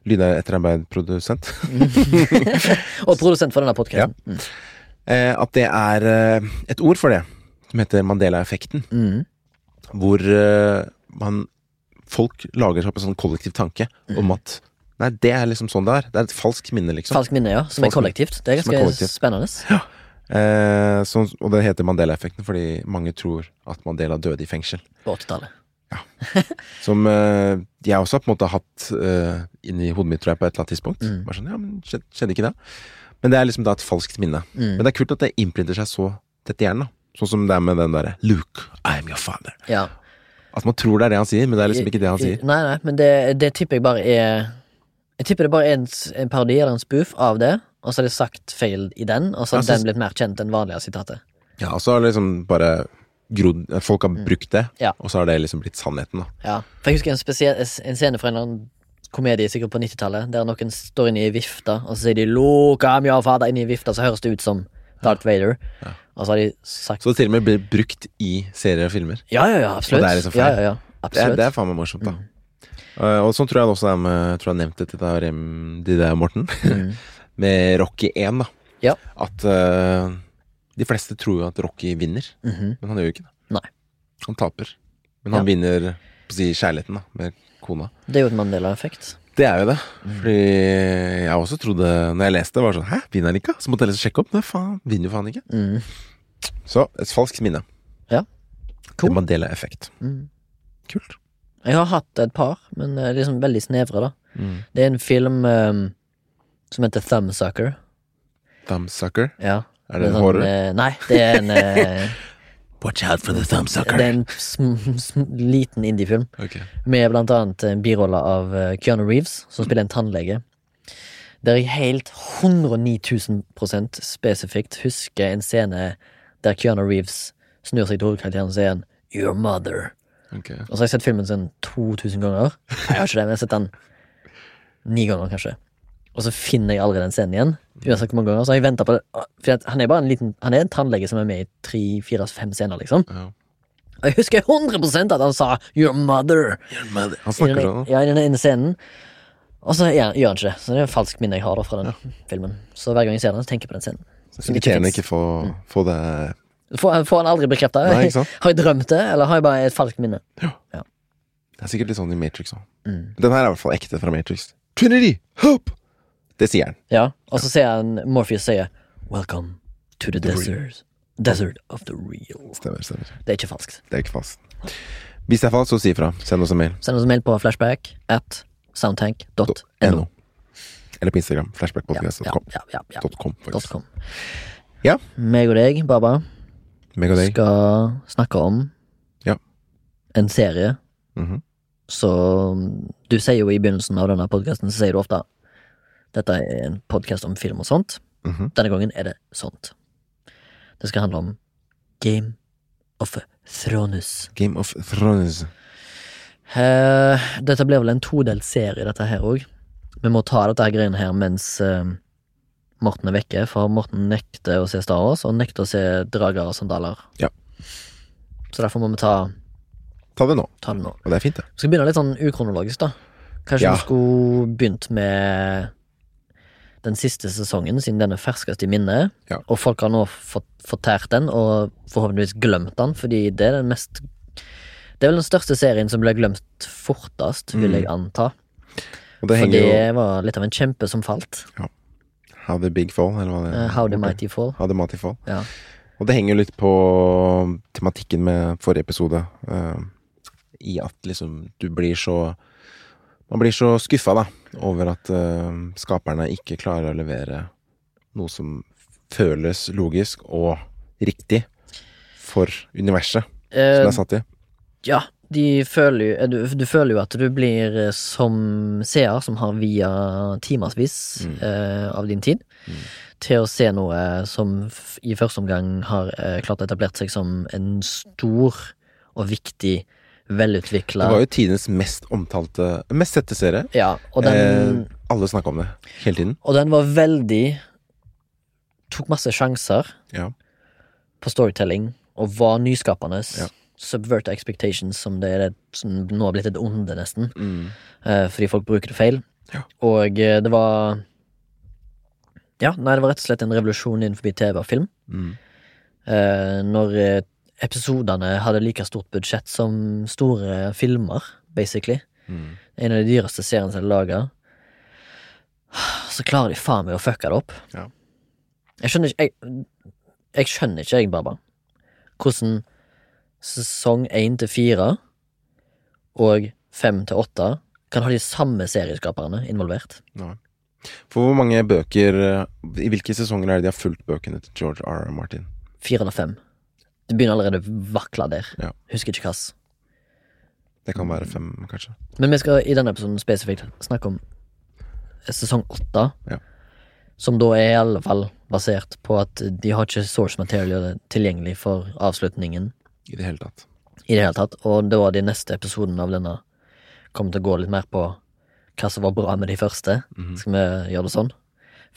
Speaker 2: Lydar etterarbeidprodusent.
Speaker 1: Og produsent for denne podkasten.
Speaker 2: eh, at det er eh, et ord for det, som heter Mandela-effekten.
Speaker 1: Mm.
Speaker 2: Hvor eh, man folk lager seg opp en sånn kollektiv tanke om at Nei, det er liksom sånn det er. Det er et falskt minne, liksom.
Speaker 1: Falskt minne, ja. Som er
Speaker 2: Falskt minne.
Speaker 1: kollektivt. Det er
Speaker 2: Som er
Speaker 1: ganske
Speaker 2: kollektivt.
Speaker 1: spennende.
Speaker 2: Eh, sånn- og det heter Mandela-effekten fordi mange tror at Mandela døde i fengsel.
Speaker 1: På 80-tallet.
Speaker 2: Som eh, jeg også på en måte har hatt eh, inni hodet mitt, tror jeg, på et eller annet tidspunkt. Bare sånn, ja, men skjed- skjedde ikke det? Men det er liksom da et falskt minne. Men det er kult at det innprinter seg så tett i hjernen. da. Sånn som det er med den derre Luke, I'm your father.
Speaker 1: Ja.
Speaker 2: At Altså, man tror det er det han sier, men det er liksom ikke det han sier.
Speaker 1: Nei, nei, men det, det tipper jeg bare er Jeg tipper det bare er en, s- en parodi eller en spoof av det, og så er det sagt feil i den, og så
Speaker 2: Jeg
Speaker 1: har
Speaker 2: synes-
Speaker 1: den blitt mer kjent enn vanlige sitatet.
Speaker 2: Ja, og så har det liksom bare grodd at Folk har brukt det,
Speaker 1: Ja.
Speaker 2: og så har det liksom blitt sannheten, da.
Speaker 1: Ja, for jeg husker en, spesiell, en scene fra en eller annen komedie sikkert på 90-tallet, der noen står inne i vifta, og så sier de 'Loka mia fada' inne i vifta, så høres det ut som Darth Vader. Og så har de sagt
Speaker 2: Så det til og med blir brukt i serier og filmer.
Speaker 1: Ja, ja, ja, absolutt.
Speaker 2: Og det er liksom
Speaker 1: ja,
Speaker 2: feil.
Speaker 1: ja, ja,
Speaker 2: Det er,
Speaker 1: absolutt.
Speaker 2: det er faen meg morsomt, da. Eh, og sånn tror jeg det også er med Jeg tror jeg nevnte det til deg, Rem- de der, Morten.
Speaker 1: Mm,
Speaker 2: med Rocky 1, da.
Speaker 1: Ja.
Speaker 2: At eh, de fleste tror jo at Rocky vinner,
Speaker 1: Mhm.
Speaker 2: men han gjør jo ikke det.
Speaker 1: Nei.
Speaker 2: Han taper. Men han
Speaker 1: Ja.
Speaker 2: vinner på å si, kjærligheten, da, med kona.
Speaker 1: det er jo et Mandela-effekt.
Speaker 2: Det er jo det. Fordi jeg også trodde, når jeg leste, var det sånn Hæ, vinner han ikke? Så måtte jeg liksom sjekke opp. Nei, faen, vinner jo faen ikke.
Speaker 1: Mm.
Speaker 2: Så et falskt minne.
Speaker 1: Ja. Cool.
Speaker 2: Cool. Mandela-effekt.
Speaker 1: Mm.
Speaker 2: Kult.
Speaker 1: Jeg har hatt et par, men eh, liksom veldig snevre, da.
Speaker 2: Mm.
Speaker 1: Det er en film eh, som heter Thumbsucker.
Speaker 2: Thumbsucker.
Speaker 1: Ja.
Speaker 2: Er det
Speaker 1: Med
Speaker 2: en
Speaker 1: sånn,
Speaker 2: hårer?
Speaker 1: eh, Nei, det er en, eh,
Speaker 2: Watch out for the thumbsucker.
Speaker 1: det er en sm sm liten indiefilm.
Speaker 2: Ok.
Speaker 1: Med blant annet en birolle av eh, Keanu Reeves, som spiller en tannlege. Der jeg helt 109 000 spesifikt husker en scene der Keanu Reeves snur seg til hovedkarakteren og sier han, Your mother.
Speaker 2: ok.
Speaker 1: Og så har jeg sett filmen sånn 2000 ganger. Nei, jeg har ikke det, men jeg har sett den ni ganger, kanskje. Og så finner jeg aldri den scenen igjen. Uansett hvor mange ganger. Så har jeg ventet på det. For at han er bare en liten Han er en tannlege som er med i tre, fire, fem scener, liksom.
Speaker 2: Ja.
Speaker 1: Og jeg husker 100 at han sa 'your mother'
Speaker 2: Han
Speaker 1: i den,
Speaker 2: snakker sånn.
Speaker 1: ja, i den ene scenen. Og så gjør han, gjør han ikke det. Så det er et falskt minne jeg har da fra den filmen. Så hver gang jeg ser den, så tenker jeg på den scenen.
Speaker 2: Så Irriterende
Speaker 1: finnes.
Speaker 2: ikke få, få det
Speaker 1: Får, får han aldri bekrefta?
Speaker 2: Nei, ikke sant?
Speaker 1: Har jeg drømt det, eller har jeg bare et falskt minne?
Speaker 2: Det er sikkert litt sånn i Matrix òg. Den her er i hvert fall ekte fra Matrix. Trinity, hope! Det sier han.
Speaker 1: Ja, og så ser han Morpheus sier Welcome to the desert Desert of the real
Speaker 2: Stemmer, stemmer.
Speaker 1: Det er ikke falskt
Speaker 2: Det er ikke fast. Hvis det er falskt, så si ifra. Send oss en mail.
Speaker 1: Send oss en mail på flashback at soundtank.no
Speaker 2: .no. Eller på Instagram.
Speaker 1: ja,
Speaker 2: Flashbackpodcast.com.
Speaker 1: ja, ja, ja.
Speaker 2: .com, faktisk.
Speaker 1: .com
Speaker 2: Ja.
Speaker 1: Meg og deg, Baba
Speaker 2: Meg og deg.
Speaker 1: Skal snakke om
Speaker 2: Ja.
Speaker 1: En serie um,
Speaker 2: Mhm.
Speaker 1: Så du sier jo i begynnelsen av denne podcasten Så sier du ofte Dette er en podkast om film og sånt.
Speaker 2: Mhm.
Speaker 1: Denne gangen er det sånt. Det skal handle om Game of Thrones.
Speaker 2: Game of Thrones.
Speaker 1: Eh, dette blir vel en todelt serie, dette her òg. Vi må ta dette her greiene her mens eh, Morten er vekke, for Morten nekter å se Star Wars, og nekter å se drager og sandaler.
Speaker 2: Ja.
Speaker 1: Så derfor må vi ta,
Speaker 2: Ta det nå.
Speaker 1: ta det nå.
Speaker 2: Og det er fint, det.
Speaker 1: Vi skal begynne litt sånn ukronologisk, da. Kanskje
Speaker 2: Ja.
Speaker 1: vi skulle begynt med den siste sesongen, siden den er ferskest i minnet.
Speaker 2: Ja.
Speaker 1: Og folk har nå fått fortært den, og forhåpentligvis glemt den, fordi det er den mest Det er vel den største serien som ble glemt fortest,
Speaker 2: Mm.
Speaker 1: vil jeg anta.
Speaker 2: Og det
Speaker 1: For
Speaker 2: henger
Speaker 1: det var litt av en kjempe som falt.
Speaker 2: jo How the big fall, eller hva det
Speaker 1: Eh, How the mighty fall.
Speaker 2: How the mighty fall.
Speaker 1: Ja.
Speaker 2: Og det henger jo litt på um, tematikken med forrige episode. eh, I at liksom du blir så Man blir så skuffa, da, over at eh, skaperne ikke klarer å levere noe som føles logisk og riktig for universet som det
Speaker 1: Eh,
Speaker 2: er satt i.
Speaker 1: ja, de føler jo eh, du, du føler jo at du blir eh, som seer, som har via timevis
Speaker 2: Mm.
Speaker 1: eh, av din tid, til å se noe som f i første omgang har eh, klart etablert seg som en stor og viktig,
Speaker 2: Det
Speaker 1: velutvikla
Speaker 2: var jo tidenes mest omtalte Mest sette serie.
Speaker 1: Ja, og den,
Speaker 2: Eh, alle snakka om det hele tiden.
Speaker 1: og den var veldig Tok masse sjanser.
Speaker 2: Ja.
Speaker 1: på storytelling og var nyskapende.
Speaker 2: Ja.
Speaker 1: Subvert expectations, som det er et, som nå har blitt et onde, nesten.
Speaker 2: Mm.
Speaker 1: eh, fordi folk bruker det feil.
Speaker 2: Ja.
Speaker 1: Og eh, det var Ja, nei, det var rett og slett en revolusjon innenfor TV og film.
Speaker 2: Mm.
Speaker 1: Eh, når eh, episodene hadde like stort budsjett som store filmer, basically.
Speaker 2: Mm.
Speaker 1: En av de dyreste seriene som er laga. Så klarer de faen meg å fucke det opp.
Speaker 2: Ja.
Speaker 1: Jeg skjønner ikke Jeg, jeg skjønner ikke, jeg, Baba, hvordan sesong én til fire og fem til åtte kan ha de samme serieskaperne involvert.
Speaker 2: For hvor mange bøker eh, I hvilke sesonger er det de har fulgt bøkene til George R. R. Martin?
Speaker 1: Fire eller fem. Det begynner allerede å vakle der.
Speaker 2: Ja.
Speaker 1: Husker ikke hva.
Speaker 2: Det kan være fem, kanskje.
Speaker 1: Men vi skal i denne episoden spesifikt snakke om sesong åtte.
Speaker 2: Ja.
Speaker 1: Som da er i alle fall basert på at de har ikke source material tilgjengelig for avslutningen
Speaker 2: I det hele tatt.
Speaker 1: i det hele tatt. Og da de neste episodene av denne kommer til å gå litt mer på hva som var bra med de første.
Speaker 2: Mhm.
Speaker 1: Skal vi gjøre det sånn?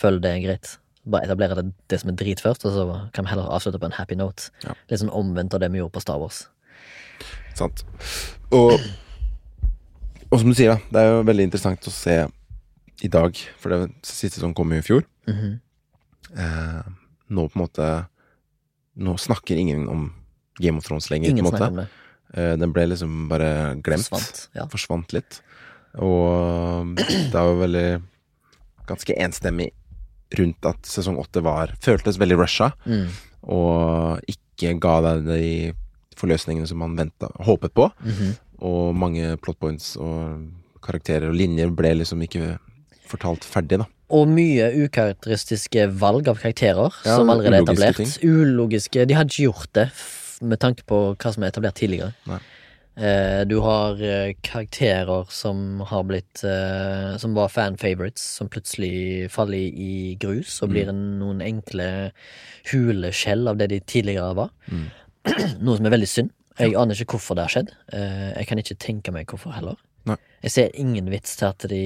Speaker 1: Føler det er greit. Bare etablere det, det som er drit først, og så kan vi heller avslutte på en happy note.
Speaker 2: Ja.
Speaker 1: Litt sånn omvendt av det vi gjorde på Star Wars.
Speaker 2: Sant. Og, og som du sier, da, det er jo veldig interessant å se i dag, for det siste som kom i fjor.
Speaker 1: Mhm.
Speaker 2: Eh, nå på en måte Nå snakker ingen om Game of Thrones lenger.
Speaker 1: Ingen
Speaker 2: på en måte.
Speaker 1: snakker om det.
Speaker 2: Eh, den ble liksom bare glemt.
Speaker 1: Forsvant, ja.
Speaker 2: forsvant litt. Og um, det var jo veldig ganske enstemmig rundt at sesong åtte var Føltes veldig rusha,
Speaker 1: Mm.
Speaker 2: og ikke ga deg de forløsningene som man venta, håpet på.
Speaker 1: Mhm.
Speaker 2: Og mange plot points og karakterer og linjer ble liksom ikke fortalt ferdig, da.
Speaker 1: Og mye ukarakteristiske valg av karakterer
Speaker 2: Ja,
Speaker 1: som allerede er
Speaker 2: ulogiske
Speaker 1: etablert. Ulogiske De hadde ikke gjort det f- med tanke på hva som er etablert tidligere.
Speaker 2: Nei.
Speaker 1: Eh, du har eh, karakterer som har blitt eh, Som var fan favorites, som plutselig faller i grus
Speaker 2: Mm.
Speaker 1: og blir en, noen enkle huleskjell av det de tidligere var.
Speaker 2: Mm.
Speaker 1: Noe som er veldig synd. Jeg aner ikke hvorfor det har skjedd. Eh, jeg kan ikke tenke meg hvorfor heller.
Speaker 2: Nei.
Speaker 1: Jeg ser ingen vits til at de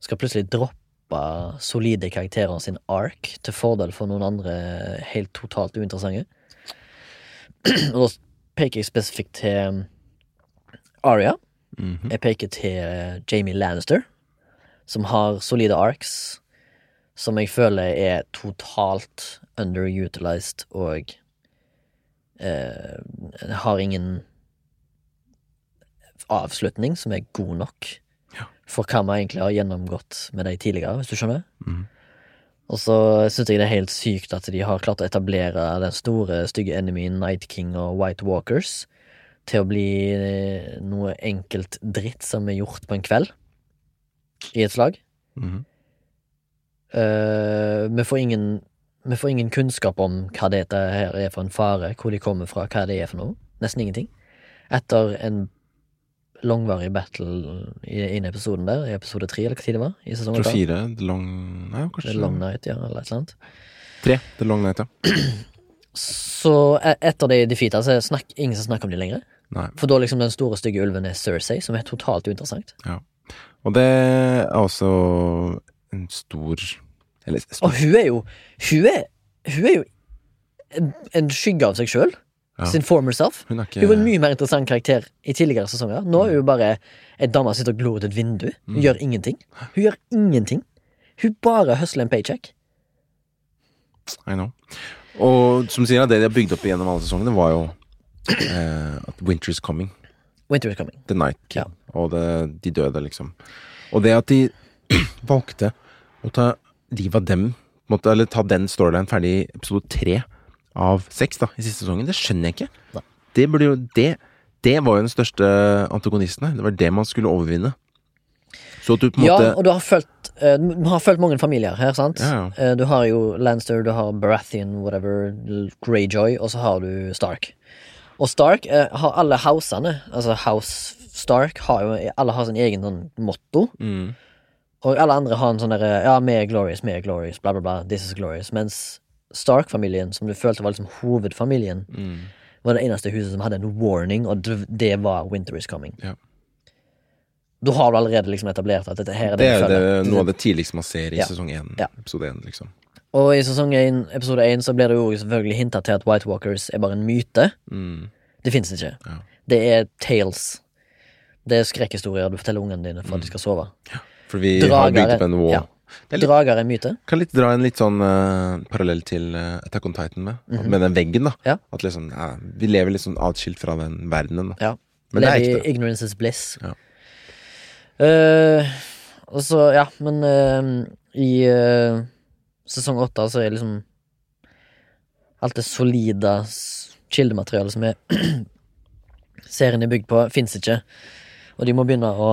Speaker 1: skal plutselig droppe solide karakterer sin ark til fordel for noen andre helt totalt uinteressante. Og da peker jeg spesifikt til Aria.
Speaker 2: Mhm.
Speaker 1: Jeg peker til eh, Jamie Lannister, som har solide arcs, som jeg føler er totalt underutilized og eh, har ingen avslutning som er god nok for hva vi egentlig har gjennomgått med de tidligere, hvis du skjønner.
Speaker 2: Mhm.
Speaker 1: Og så syns jeg det er helt sykt at de har klart å etablere den store, stygge enemyen Night King og White Walkers til å bli eh, noe enkelt dritt som er gjort på en kveld, i et slag.
Speaker 2: Mhm.
Speaker 1: Eh, vi, får ingen, vi får ingen kunnskap om hva dette her er for en fare, hvor de kommer fra, hva det er for noe. Nesten ingenting. Etter en langvarig battle i i den episoden der, i episode tre, eller hva tid det var? I sesong
Speaker 2: Jeg tror
Speaker 1: åtte?
Speaker 2: fire. The Long Nei,
Speaker 1: Det
Speaker 2: kanskje
Speaker 1: er Long Night, ja, eller et eller annet.
Speaker 2: tre. The Long Night, ja.
Speaker 1: Så e- etter de defeata, så er det snakk, ingen som snakker om de lenger.
Speaker 2: Nei.
Speaker 1: For da liksom den store, stygge ulven er Cersei, som er totalt uinteressant.
Speaker 2: Og det er også en stor Eller stor
Speaker 1: Og hun er jo Hun er, hun er jo en, en skygge av seg sjøl.
Speaker 2: Ja.
Speaker 1: Sin former self.
Speaker 2: Hun er ikke
Speaker 1: Hun var en mye mer interessant karakter i tidligere sesonger. Nå er hun bare ei dame som sitter og glor ut et vindu. Hun gjør ingenting. Hun gjør ingenting. Hun bare høsler en paycheck.
Speaker 2: I know. Og som sier, det de har bygd opp igjennom alle sesongene, var jo eh, at winter is coming.
Speaker 1: Winter is coming.
Speaker 2: The Night
Speaker 1: Ja.
Speaker 2: King. Og det, de døde, liksom. Og det at de valgte å ta livet av dem, på en måte, eller ta den storylinen ferdig i episode tre av seks da, i siste sesongen, det skjønner jeg ikke.
Speaker 1: Nei.
Speaker 2: Det burde jo Det, det var jo den største antagonisten her. Det var det man skulle overvinne. Så at du på en
Speaker 1: Ja,
Speaker 2: måte
Speaker 1: og du har følt eh, Du har følt mange familier her, sant?
Speaker 2: Ja, ja.
Speaker 1: Eh, Du har jo Lanster, du har Baratheon, whatever, Greyjoy, og så har du Stark. Og Stark eh, har alle housene, altså House Stark, har jo alle har sin egen sånn motto.
Speaker 2: mm,
Speaker 1: Og alle andre har en sånn derre Ja, vi er glorious, vi er glorious, bla, bla, bla, this is glorious. Mens Stark-familien, som du følte var liksom hovedfamilien,
Speaker 2: mm.
Speaker 1: var det eneste huset som hadde en warning, og det- det var Winter is coming.
Speaker 2: Ja.
Speaker 1: Da har du allerede liksom etablert at dette her er det,
Speaker 2: Det
Speaker 1: vi
Speaker 2: er det,
Speaker 1: følger.
Speaker 2: noe av det tidligste man ser i
Speaker 1: Ja.
Speaker 2: sesong én.
Speaker 1: Ja.
Speaker 2: Episode én, liksom.
Speaker 1: Og i sesong 1, episode 1 så blir det jo selvfølgelig hinta til at White Walkers er bare en myte.
Speaker 2: Mm.
Speaker 1: Det fins ikke.
Speaker 2: Ja.
Speaker 1: Det er tales. Det er skrekkhistorier du forteller ungene dine for at de skal sove.
Speaker 2: For vi har
Speaker 1: Drager
Speaker 2: bygd
Speaker 1: er-
Speaker 2: opp en wall.
Speaker 1: ja.
Speaker 2: Mm. Det er litt
Speaker 1: Drager er en myte.
Speaker 2: Kan litt dra en litt sånn eh, parallell til eh, Attack on Titan med, med den veggen, da.
Speaker 1: Mhm. Ja.
Speaker 2: At liksom, ja, vi lever litt sånn atskilt fra den verdenen, da.
Speaker 1: Ja.
Speaker 2: Men det er
Speaker 1: Lady
Speaker 2: ekte.
Speaker 1: Ignorance is bliss.
Speaker 2: Ja.
Speaker 1: Eh, og så, ja, men eh, i eh, sesong åtte så er liksom Alt det solide s- kildematerialet som er serien er bygd på, fins ikke. Og de må begynne å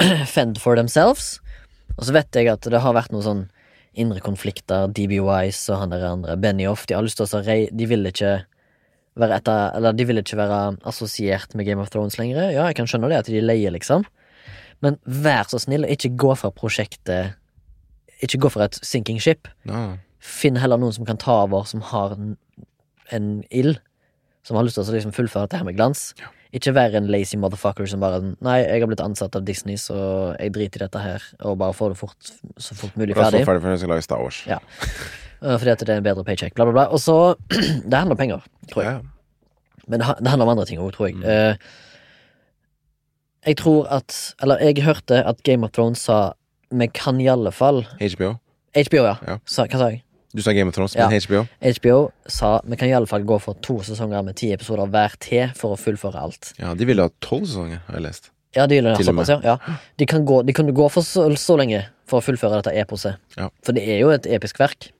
Speaker 1: fend for themselves. Og så vet jeg at det har vært noen sånn indre konflikter. DB Wise og han der andre, Benioff, de har lyst til å så rei... De vil ikke være etter, eller de vil ikke være assosiert med Game of Thrones lenger. Ja, jeg kan skjønne det, at de er leie, liksom. Men vær så snill, ikke gå for prosjektet Ikke gå for et sinking ship.
Speaker 2: Ja.
Speaker 1: Finn heller noen som kan ta over, som har en, en ild. Som har lyst til å liksom fullføre dette her med glans. Ikke være en lazy motherfucker som bare Nei, jeg har blitt ansatt av Disney, så jeg driter i dette her, og bare får det fort, så fort
Speaker 2: La
Speaker 1: mulig
Speaker 2: oss
Speaker 1: ferdig.
Speaker 2: være ferdig før vi skal lage Star Wars.
Speaker 1: Ja. eh, Fordi at det er en bedre paycheck, bla, bla, bla. Og så Det handler om penger, tror jeg.
Speaker 2: Ja, ja.
Speaker 1: Men det, ha- det handler om andre ting òg, tror jeg. Eh, jeg tror at Eller jeg hørte at Game of Thrones sa Vi kan i alle fall
Speaker 2: HBO.
Speaker 1: HBO, ja.
Speaker 2: Ja.
Speaker 1: Sa, hva sa jeg?
Speaker 2: Du sa Game of Thrones,
Speaker 1: Ja.
Speaker 2: men HBO
Speaker 1: HBO sa vi kan i alle fall gå for to sesonger med ti episoder hver til for å fullføre alt.
Speaker 2: Ja, de ville ha tolv sesonger, har jeg lest.
Speaker 1: Ja, de, gjør det,
Speaker 2: Til og med.
Speaker 1: såpass, ja. ja. De, kan gå, de kunne gå for så, så lenge for å fullføre dette eposet.
Speaker 2: Ja.
Speaker 1: For det er jo et episk verk,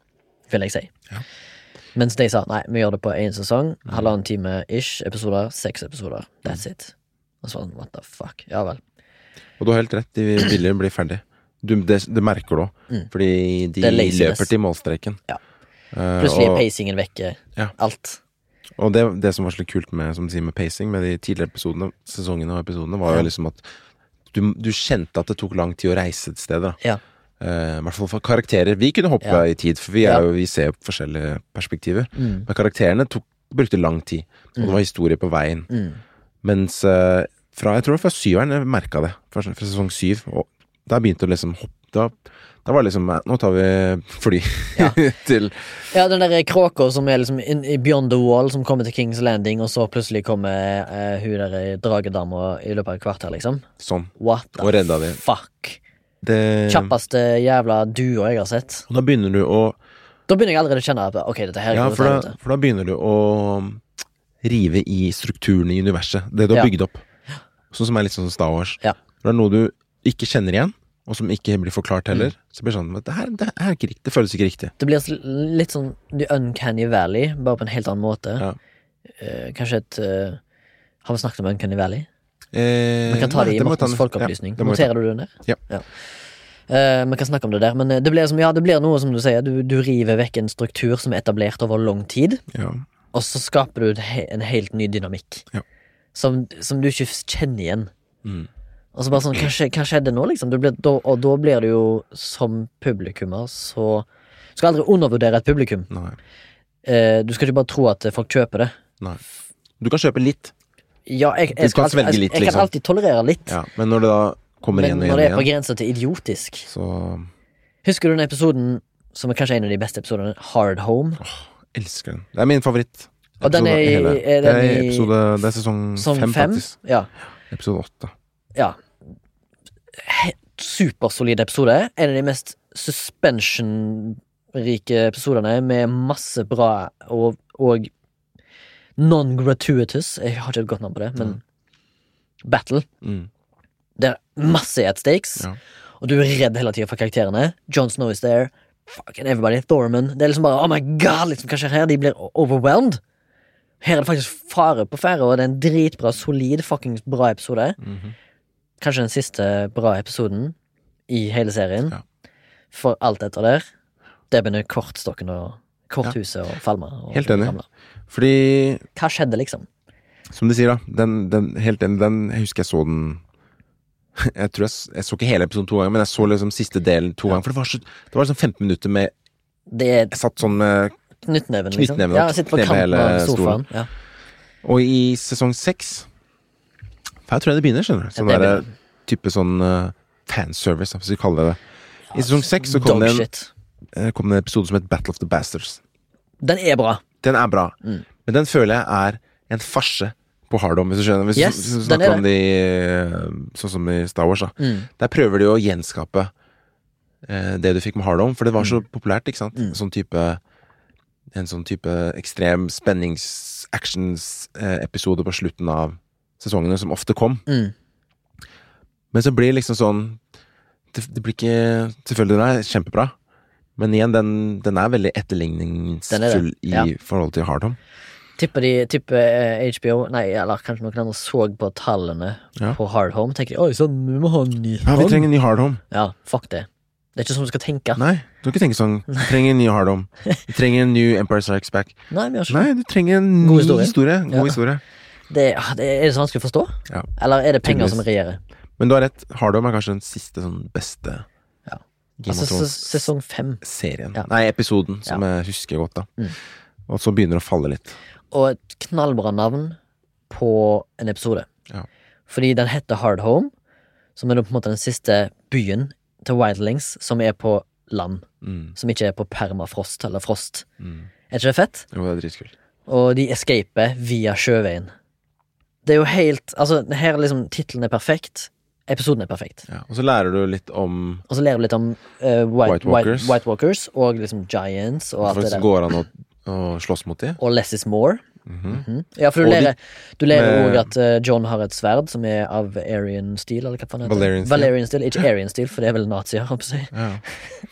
Speaker 1: vil jeg si.
Speaker 2: Ja. Mm.
Speaker 1: Mens de sa nei, vi gjør det på én sesong, halvannen time ish, episoder, seks episoder. That's it. Og så var det sånn, what the fuck. Ja vel.
Speaker 2: Og du har helt rett, de ville bli ferdig. Du, det, det merker du òg, fordi de
Speaker 1: Mm. Det er laziness.
Speaker 2: løper til målstreken.
Speaker 1: Ja.
Speaker 2: Eh,
Speaker 1: Plutselig er
Speaker 2: og,
Speaker 1: pacingen vekke.
Speaker 2: Ja.
Speaker 1: Alt.
Speaker 2: og det, det som var så litt kult med, som du sier, med pacing, med de tidligere episodene, sesongene og episodene, var jo liksom at du, du kjente at det tok lang tid å reise et sted. da
Speaker 1: Ja.
Speaker 2: Eh, I hvert fall for karakterer. Vi kunne hoppe
Speaker 1: Ja.
Speaker 2: i tid, for vi, er
Speaker 1: Ja. Mm.
Speaker 2: jo, vi ser jo forskjellige perspektiver. Men karakterene tok, brukte lang tid, og det var historie på veien.
Speaker 1: Mm.
Speaker 2: Mens eh, fra, jeg tror det var fra syveren jeg merka det, fra, fra sesong syv. Og der begynte det å liksom hoppe. Da, da var det liksom eh, Nå tar vi fly til
Speaker 1: ja, den der kråka som er liksom in, i Beyond the Wall, som kommer til Kings Landing, og så plutselig kommer eh, hun der dragedama i løpet av et kvarter, liksom.
Speaker 2: sånn.
Speaker 1: What the
Speaker 2: Og redda de.
Speaker 1: fuck?
Speaker 2: Det, og
Speaker 1: Kjappeste jævla duo jeg har sett.
Speaker 2: da begynner du å
Speaker 1: Da begynner jeg allerede å kjenne at ok, dette her
Speaker 2: Ja,
Speaker 1: går
Speaker 2: for
Speaker 1: til
Speaker 2: da,
Speaker 1: helvete.
Speaker 2: for da begynner du å um, rive i strukturen i universet. Det du har
Speaker 1: Ja.
Speaker 2: bygd opp. Sånn som er litt sånn som Star Wars.
Speaker 1: Ja.
Speaker 2: Når det er noe du ikke kjenner igjen, og som ikke blir forklart
Speaker 1: Mm.
Speaker 2: heller, så blir det sånn det her, det, her er ikke riktig, det føles ikke riktig.
Speaker 1: Det blir sl- litt sånn The Uncanny Valley, bare på en helt annen måte.
Speaker 2: Ja.
Speaker 1: Eh, kanskje et eh, Har vi snakket om Uncanny Valley?
Speaker 2: Eh,
Speaker 1: Vi kan ta
Speaker 2: nei,
Speaker 1: det i
Speaker 2: må jeg ta
Speaker 1: Mortens
Speaker 2: ned.
Speaker 1: folkeopplysning.
Speaker 2: Ja, det må jeg ta.
Speaker 1: Noterer du den der?
Speaker 2: Ja.
Speaker 1: Eh, vi kan snakke om det der, men eh, det blir, som, ja, det blir noe som du sier. Du, du river vekk en struktur som er etablert over lang tid,
Speaker 2: Ja.
Speaker 1: og så skaper du et he- en helt ny dynamikk.
Speaker 2: Ja.
Speaker 1: Som, som du ikke f- kjenner igjen
Speaker 2: Mm,
Speaker 1: Og så bare sånn, hva, skje, hva skjedde nå, liksom? Det blir, da, og da blir det jo, som publikummer, så Du skal aldri undervurdere et publikum.
Speaker 2: Nei.
Speaker 1: Eh, du skal ikke bare tro at eh, folk kjøper det.
Speaker 2: Nei. Du kan kjøpe litt,
Speaker 1: Ja, jeg,
Speaker 2: Du
Speaker 1: jeg,
Speaker 2: kan
Speaker 1: skal alltid-
Speaker 2: svelge
Speaker 1: jeg,
Speaker 2: litt,
Speaker 1: jeg kan
Speaker 2: liksom.
Speaker 1: alltid tolerere litt,
Speaker 2: ja. men når det da kommer
Speaker 1: men
Speaker 2: igjen og
Speaker 1: når
Speaker 2: igjen,
Speaker 1: det er
Speaker 2: og
Speaker 1: på
Speaker 2: igjen
Speaker 1: grensa til idiotisk
Speaker 2: så
Speaker 1: Husker du den episoden som er kanskje en av de beste episodene, Hard Home?
Speaker 2: elsker den. Det er min favoritt.
Speaker 1: Og den er i-
Speaker 2: Episode hele.
Speaker 1: er den
Speaker 2: det er i
Speaker 1: i-
Speaker 2: episode Det er sesong
Speaker 1: Som
Speaker 2: fem,
Speaker 1: fem?
Speaker 2: faktisk.
Speaker 1: Ja.
Speaker 2: Episode åtte.
Speaker 1: ja. He- Supersolid episode. En av de mest suspension-rike episodene, med masse bra og, og non-gratuitous Jeg har ikke et godt navn på det, men Battle.
Speaker 2: Mm.
Speaker 1: Det er masse at stakes,
Speaker 2: Ja.
Speaker 1: og du er redd hele tida for karakterene. Jon Snow is there. Fucking everybody. Thorman. Det er liksom bare Oh my god, liksom, hva skjer her? De blir o- overwhelmed. Her er det faktisk fare på ferde, og det er en dritbra, solid, fuckings bra episode.
Speaker 2: Mhm.
Speaker 1: Kanskje den siste bra episoden i hele serien.
Speaker 2: Ja.
Speaker 1: For alt etter der. Det begynner kortstokken og korthuset og falme. Og
Speaker 2: Helt enig.
Speaker 1: ramle.
Speaker 2: Fordi
Speaker 1: Hva skjedde, liksom?
Speaker 2: Som de sier, da. Den, den, helt enig, den Jeg husker jeg så den Jeg tror jeg, s- jeg så ikke hele episoden to ganger, men jeg så liksom siste delen to ganger. For det var, så, det var liksom 15 minutter med
Speaker 1: Det er
Speaker 2: Jeg satt sånn med
Speaker 1: knyttneven, liksom.
Speaker 2: Knyttneven og
Speaker 1: ja, sitter på
Speaker 2: knyttneve
Speaker 1: kanten
Speaker 2: hele
Speaker 1: av sofaen. Ja.
Speaker 2: Og i sesong seks For jeg tror jeg det begynner, skjønner du. Sånn
Speaker 1: Ja, det
Speaker 2: derre
Speaker 1: begynner.
Speaker 2: type sånn eh, fanservice, hvis vi kaller det det. I sesong seks så kom det, en,
Speaker 1: Dogshit.
Speaker 2: eh, kom det en episode som het Battle of the Bastards.
Speaker 1: Den er bra.
Speaker 2: Den er bra,
Speaker 1: Mm.
Speaker 2: men den føler jeg er en farse på hardom, hvis du skjønner. Hvis
Speaker 1: Yes,
Speaker 2: du, hvis du
Speaker 1: den er Mm.
Speaker 2: snakker om de eh, sånn som i Star Wars, da. Der prøver de å gjenskape eh, det du fikk med hardom, for det var
Speaker 1: Mm.
Speaker 2: så populært, ikke sant? Sånn type en sånn type ekstrem spennings-actions-episode på slutten av sesongene, som ofte kom.
Speaker 1: Mm.
Speaker 2: Men så blir det liksom sånn Det, det blir ikke Selvfølgelig, den er kjempebra, men igjen, den, den er veldig etterligningsfull i
Speaker 1: ja.
Speaker 2: forhold til hardom.
Speaker 1: Tipper de tipper eh, HBO Nei, eller kanskje noen andre så på tallene
Speaker 2: Ja.
Speaker 1: på Hard Home. Tenker de, Oi, sånn, vi må ha en ny
Speaker 2: Ja, vi
Speaker 1: home."
Speaker 2: trenger en ny hardhome.
Speaker 1: ja, fuck det. Det er ikke sånn du skal tenke. Nei,
Speaker 2: Nei, du kan ikke tenke sånn. Vi trenger en ny hardhome. Vi trenger en ny Empire Strikes Back.
Speaker 1: vi har ikke
Speaker 2: Nei, du trenger en ny
Speaker 1: God historie.
Speaker 2: historie. God
Speaker 1: Ja.
Speaker 2: historie.
Speaker 1: det, ah, det, Er det så vanskelig å forstå?
Speaker 2: Ja.
Speaker 1: Eller er det penger
Speaker 2: Tydeligvis.
Speaker 1: som regjerer?
Speaker 2: Men du har rett. Hardhome er kanskje den siste sånn beste
Speaker 1: Ja.
Speaker 2: Game
Speaker 1: Altså,
Speaker 2: of
Speaker 1: ses-
Speaker 2: Thrones-serien.
Speaker 1: sesong fem. Ja.
Speaker 2: Nei, episoden, som jeg husker godt, da. Og så begynner det å falle litt.
Speaker 1: Og et knallbra navn på en episode.
Speaker 2: Ja.
Speaker 1: Fordi den heter Hard Home, som er da på en måte den siste byen til Wildlings som er på land.
Speaker 2: Mm.
Speaker 1: Som ikke er på permafrost eller frost.
Speaker 2: Mm.
Speaker 1: Er ikke det fett?
Speaker 2: Jo, det er dritkult.
Speaker 1: og de escaper via sjøveien. Det er jo helt Altså, her er liksom tittelen er perfekt, episoden er perfekt.
Speaker 2: Ja. Og så lærer du litt om
Speaker 1: Og så lærer vi litt om eh,
Speaker 2: White
Speaker 1: white,
Speaker 2: Walkers.
Speaker 1: White, white Walkers og liksom Giants og alt det
Speaker 2: hvordan det
Speaker 1: der.
Speaker 2: går an å, å slåss mot dem.
Speaker 1: Og Less is more.
Speaker 2: Mm.
Speaker 1: Mhm. Ja, for du
Speaker 2: Og de-
Speaker 1: lærer Du lærer
Speaker 2: med-
Speaker 1: òg at eh, John har et sverd som er av Arian steel, eller hva faen heter det?
Speaker 2: Valerian steel.
Speaker 1: Valerian steel. Ikke Arian steel, for det er vel nazier, holdt jeg på å si.
Speaker 2: Ja.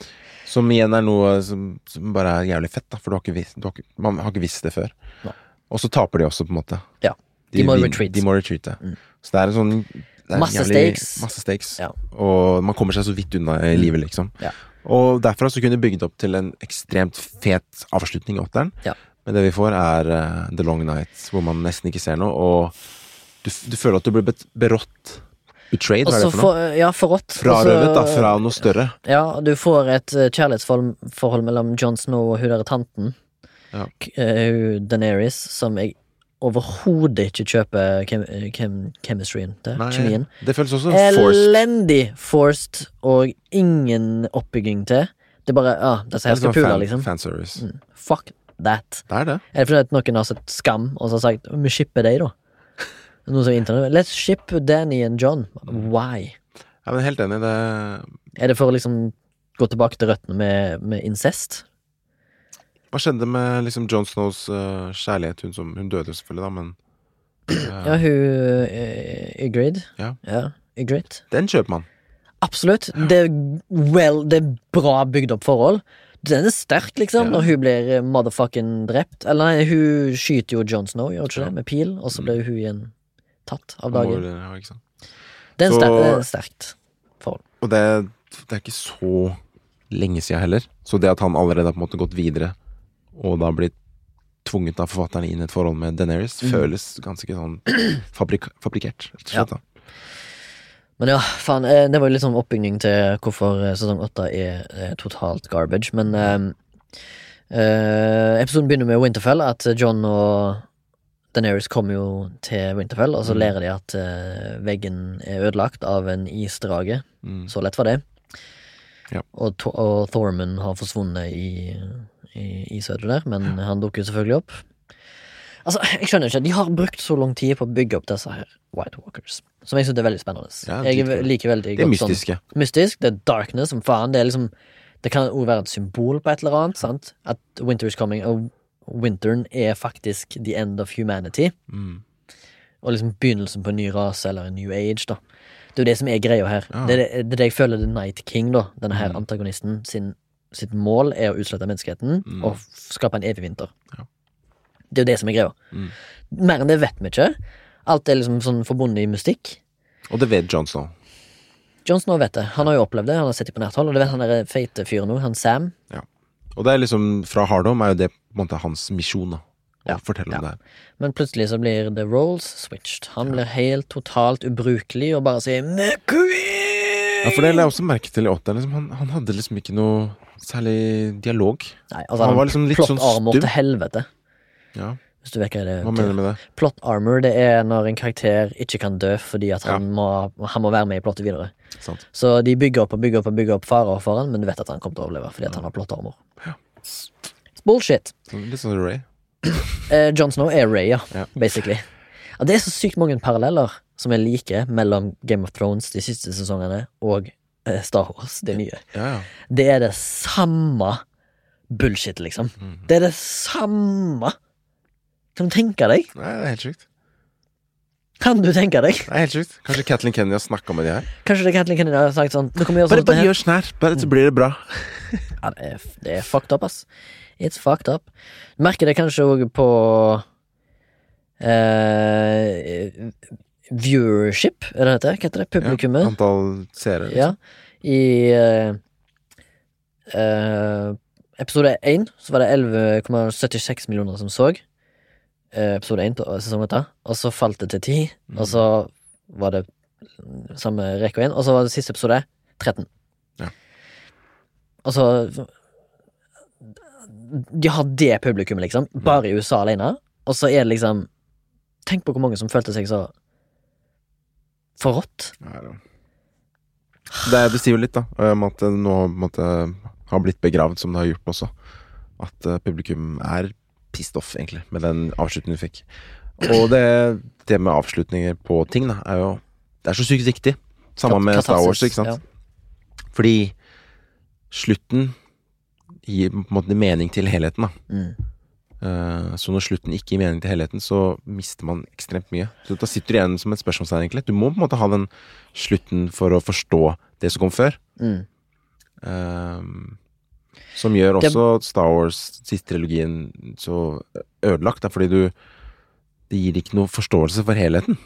Speaker 2: Som igjen er noe som, som bare er jævlig fett, da, for du har ikke visst, du har ikke, man har ikke visst det før.
Speaker 1: Nei.
Speaker 2: Og så taper de også, på en måte.
Speaker 1: Ja. De må
Speaker 2: vin-
Speaker 1: retreat. Mm.
Speaker 2: De må retreate. Så det er en sånn det er en
Speaker 1: Masse stakes.
Speaker 2: Masse stakes.
Speaker 1: Ja. Mm.
Speaker 2: Og man kommer seg så vidt unna i livet, liksom.
Speaker 1: Ja.
Speaker 2: Og derfra så kunne det bygd opp til en ekstremt fet avslutning i åtteren.
Speaker 1: Ja.
Speaker 2: Men det vi får, er eh, The Long Night, hvor man nesten ikke ser noe, og du, f- du føler at du blir bet- berått. Betrayed,
Speaker 1: Og
Speaker 2: hva er
Speaker 1: så
Speaker 2: det for noe?
Speaker 1: for, ja, forrådt.
Speaker 2: Frarøvet, da,
Speaker 1: Og så-
Speaker 2: fra noe større.
Speaker 1: Ja, og du får et eh, kjærlighetsforhold forhold mellom Jon Snow og hun der tanten.
Speaker 2: Ja.
Speaker 1: K- eh, hun Daenerys, som jeg overhodet ikke kjøper chem eh, chem chemistryen til.
Speaker 2: Nei,
Speaker 1: Kjemien.
Speaker 2: Det føles også forced.
Speaker 1: Elendig forced og ingen oppbygging til. Det er bare ah, disse her
Speaker 2: Det er
Speaker 1: skal
Speaker 2: sånn
Speaker 1: pule,
Speaker 2: fan-
Speaker 1: liksom.
Speaker 2: Fanservice.
Speaker 1: Fuck that.
Speaker 2: Det er det.
Speaker 1: Er det fordi at noen har sett Skam og så har sagt vi shipper deg, da? Noen som er internett. Let's ship Danny and John. Why?
Speaker 2: Ja, men helt enig. Det
Speaker 1: Er det for å liksom gå tilbake til røttene med, med incest?
Speaker 2: Hva skjedde med liksom John Snows eh, kjærlighet? Hun, som, hun døde jo selvfølgelig, da, men
Speaker 1: Ja, hun eh, Ygritte.
Speaker 2: Ja.
Speaker 1: Ygritte.
Speaker 2: den kjøper man.
Speaker 1: Absolutt. Det er, well, det er bra bygd opp forhold. Den er sterk, liksom,
Speaker 2: Ja.
Speaker 1: når hun blir eh, motherfucking drept. Eller nei, hun skyter jo John Snow, gjør hun ikke det, med pil, og så blir hun igjen tatt av
Speaker 2: Man må
Speaker 1: dagen.
Speaker 2: vel- Ja, ikke sant?
Speaker 1: Det er en
Speaker 2: Så-
Speaker 1: ster- det er en sterkt forhold.
Speaker 2: Og det, det er ikke så lenge siden heller. Så det at han allerede har på en måte gått videre, og da blitt tvunget av forfatterne inn i et forhold med Deneris, føles ganske sånn fabrik fabrikkert, rett og slett. da
Speaker 1: Men ja, faen, eh, det var jo litt sånn oppbygning til hvorfor eh, sesong åtte er eh, totalt garbage, men eh, eh, Episoden begynner med Winterfell, at John og Daenerys kommer jo til Winterfell, og så
Speaker 2: Mm.
Speaker 1: lærer de at eh, veggen er ødelagt av en isdrage.
Speaker 2: Mm.
Speaker 1: Så lett var det.
Speaker 2: Ja.
Speaker 1: Og, Th og Thorman har forsvunnet i, i isødet der, men han dukker jo selvfølgelig opp. Altså, jeg skjønner ikke, De har brukt så lang tid på å bygge opp disse her White Walkers, som jeg syns er veldig spennende.
Speaker 2: Ja,
Speaker 1: jeg
Speaker 2: dritkult.
Speaker 1: liker veldig
Speaker 2: De er
Speaker 1: godt sånn
Speaker 2: mystiske.
Speaker 1: mystisk. Det er darkness som faen. Det er liksom Det kan òg være et symbol på et eller annet. sant? At winter is coming, og winteren er faktisk the end of humanity.
Speaker 2: Mm.
Speaker 1: Og liksom begynnelsen på en ny rase eller en new age, da. Det er jo det som er greia her.
Speaker 2: Ja.
Speaker 1: Det, er det, det er det jeg føler The Night King, da, denne her
Speaker 2: Mm.
Speaker 1: antagonisten, sin, sitt mål er å utslette menneskeheten
Speaker 2: Mm.
Speaker 1: og f- skape en evig vinter.
Speaker 2: Ja.
Speaker 1: Det er jo det som er greia.
Speaker 2: Mm.
Speaker 1: Mer enn det vet vi ikke. Alt er liksom sånn forbundet i mystikk.
Speaker 2: Og det vet Jon Snow.
Speaker 1: Jon Snow vet det. Han har jo opplevd det. Han har sett det på nært hold. Og det vet han der feite fyren nå, han Sam.
Speaker 2: Og det er liksom, fra Hardom er jo det på en måte hans misjon, da. Å
Speaker 1: Ja.
Speaker 2: fortelle om
Speaker 1: Ja.
Speaker 2: det her.
Speaker 1: Men plutselig så blir the roles switched. Han blir helt totalt ubrukelig og bare sier McQueen!
Speaker 2: Ja, for det la jeg også merke til i åtteren. Liksom, han, han hadde liksom ikke noe særlig dialog.
Speaker 1: Nei, altså,
Speaker 2: Han
Speaker 1: han,
Speaker 2: var liksom litt
Speaker 1: plot
Speaker 2: sånn
Speaker 1: armor
Speaker 2: stum.
Speaker 1: til helvete.
Speaker 2: Ja,
Speaker 1: Hvis du vet hva det
Speaker 2: Hva mener du med det?
Speaker 1: Plot armor det er når en karakter ikke kan dø fordi at han, må, han må være med i plottet videre.
Speaker 2: Sant.
Speaker 1: Så de bygger opp og bygger opp og bygger opp farer for han, men du vet at han kommer til å overleve fordi at han har plot armor. Bullshit.
Speaker 2: Sånn- Litt sånn Ray.
Speaker 1: Eh, Jon Snow er Ray, ja,
Speaker 2: Ja.
Speaker 1: basically. Ja, det er så sykt mange paralleller som er like mellom Game of Thrones de siste sesongene og eh, Star Wars, det nye.
Speaker 2: Ja, ja.
Speaker 1: Det er det samme bullshit, liksom. Det er det samme. Kan du tenke deg?
Speaker 2: Nei, det er helt sjukt.
Speaker 1: Kan du tenke deg?
Speaker 2: Det er helt sjukt. Kanskje Kathleen Kennedy har snakka med de her?
Speaker 1: Kanskje det Katlin Kennedy har sagt sånn Nå kan vi gjøre sånn som det her.
Speaker 2: gjør sånn her, bare så blir det bra.
Speaker 1: Ja, det, er, det er fucked up, ass. It's fucked up. Du merker det kanskje òg på eh, Viewership, er det det heter? Hva heter det? Publikummet?
Speaker 2: Antall seere. Liksom.
Speaker 1: Ja. I eh, eh, episode 1 så var det 11,76 millioner som så. eh, episode 1 på sesong 8. Og så falt det til 10,
Speaker 2: Mm.
Speaker 1: og så var det samme rekka igjen. Og så var det siste episode 13.
Speaker 2: Ja.
Speaker 1: Og så De har det publikummet, liksom.
Speaker 2: Mm.
Speaker 1: Bare i USA alene. Og så er det liksom Tenk på hvor mange som følte seg så forrådt.
Speaker 2: Ja, ja. Det er- det sier jo litt, da, eh, om at det nå på en måte, har blitt begravd, som det har gjort også. At eh, publikum er pissed off, egentlig, med den avslutningen vi fikk. Og det, det med avslutninger på ting, da, er jo Det er så sykt viktig. Samme med Star Wars,
Speaker 1: Katarsis,
Speaker 2: ikke sant.
Speaker 1: ja.
Speaker 2: Fordi slutten gir på en måte mening til helheten, da.
Speaker 1: Mm.
Speaker 2: Eh, Så når slutten ikke gir mening til helheten, så mister man ekstremt mye. Så Da sitter du igjen som et spørsmålstegn, egentlig. Du må på en måte ha den slutten for å forstå det som kom før.
Speaker 1: Mm.
Speaker 2: Ehm, som gjør
Speaker 1: Det-
Speaker 2: også Star Wars, siste trilogien, så ødelagt. Da, fordi du Det gir ikke noe forståelse for helheten.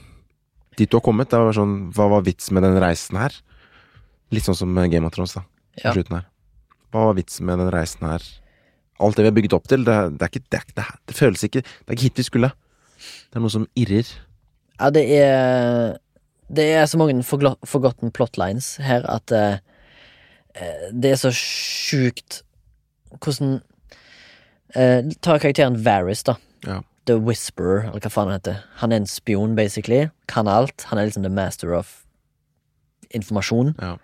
Speaker 2: Dit du har kommet, det var sånn Hva var vits med den reisen her? Litt sånn som Game of Thrones, da. På
Speaker 1: Ja.
Speaker 2: slutten her. Hva var vitsen med den reisen her? Alt det vi har bygget opp til, det, er- det er ikke det, er, ikke- det, er, det føles ikke Det er ikke hit vi skulle. Det er noe som irrer.
Speaker 1: Ja, det er Det er så mange forglo- forgotten plotlines her at eh, eh, det er så sjukt hvordan eh, Ta karakteren Varys, da.
Speaker 2: Ja.
Speaker 1: The Whisperer, eller hva faen han heter. Han er en spion, basically. Kan alt. Han er liksom the master of informasjon.
Speaker 2: Ja.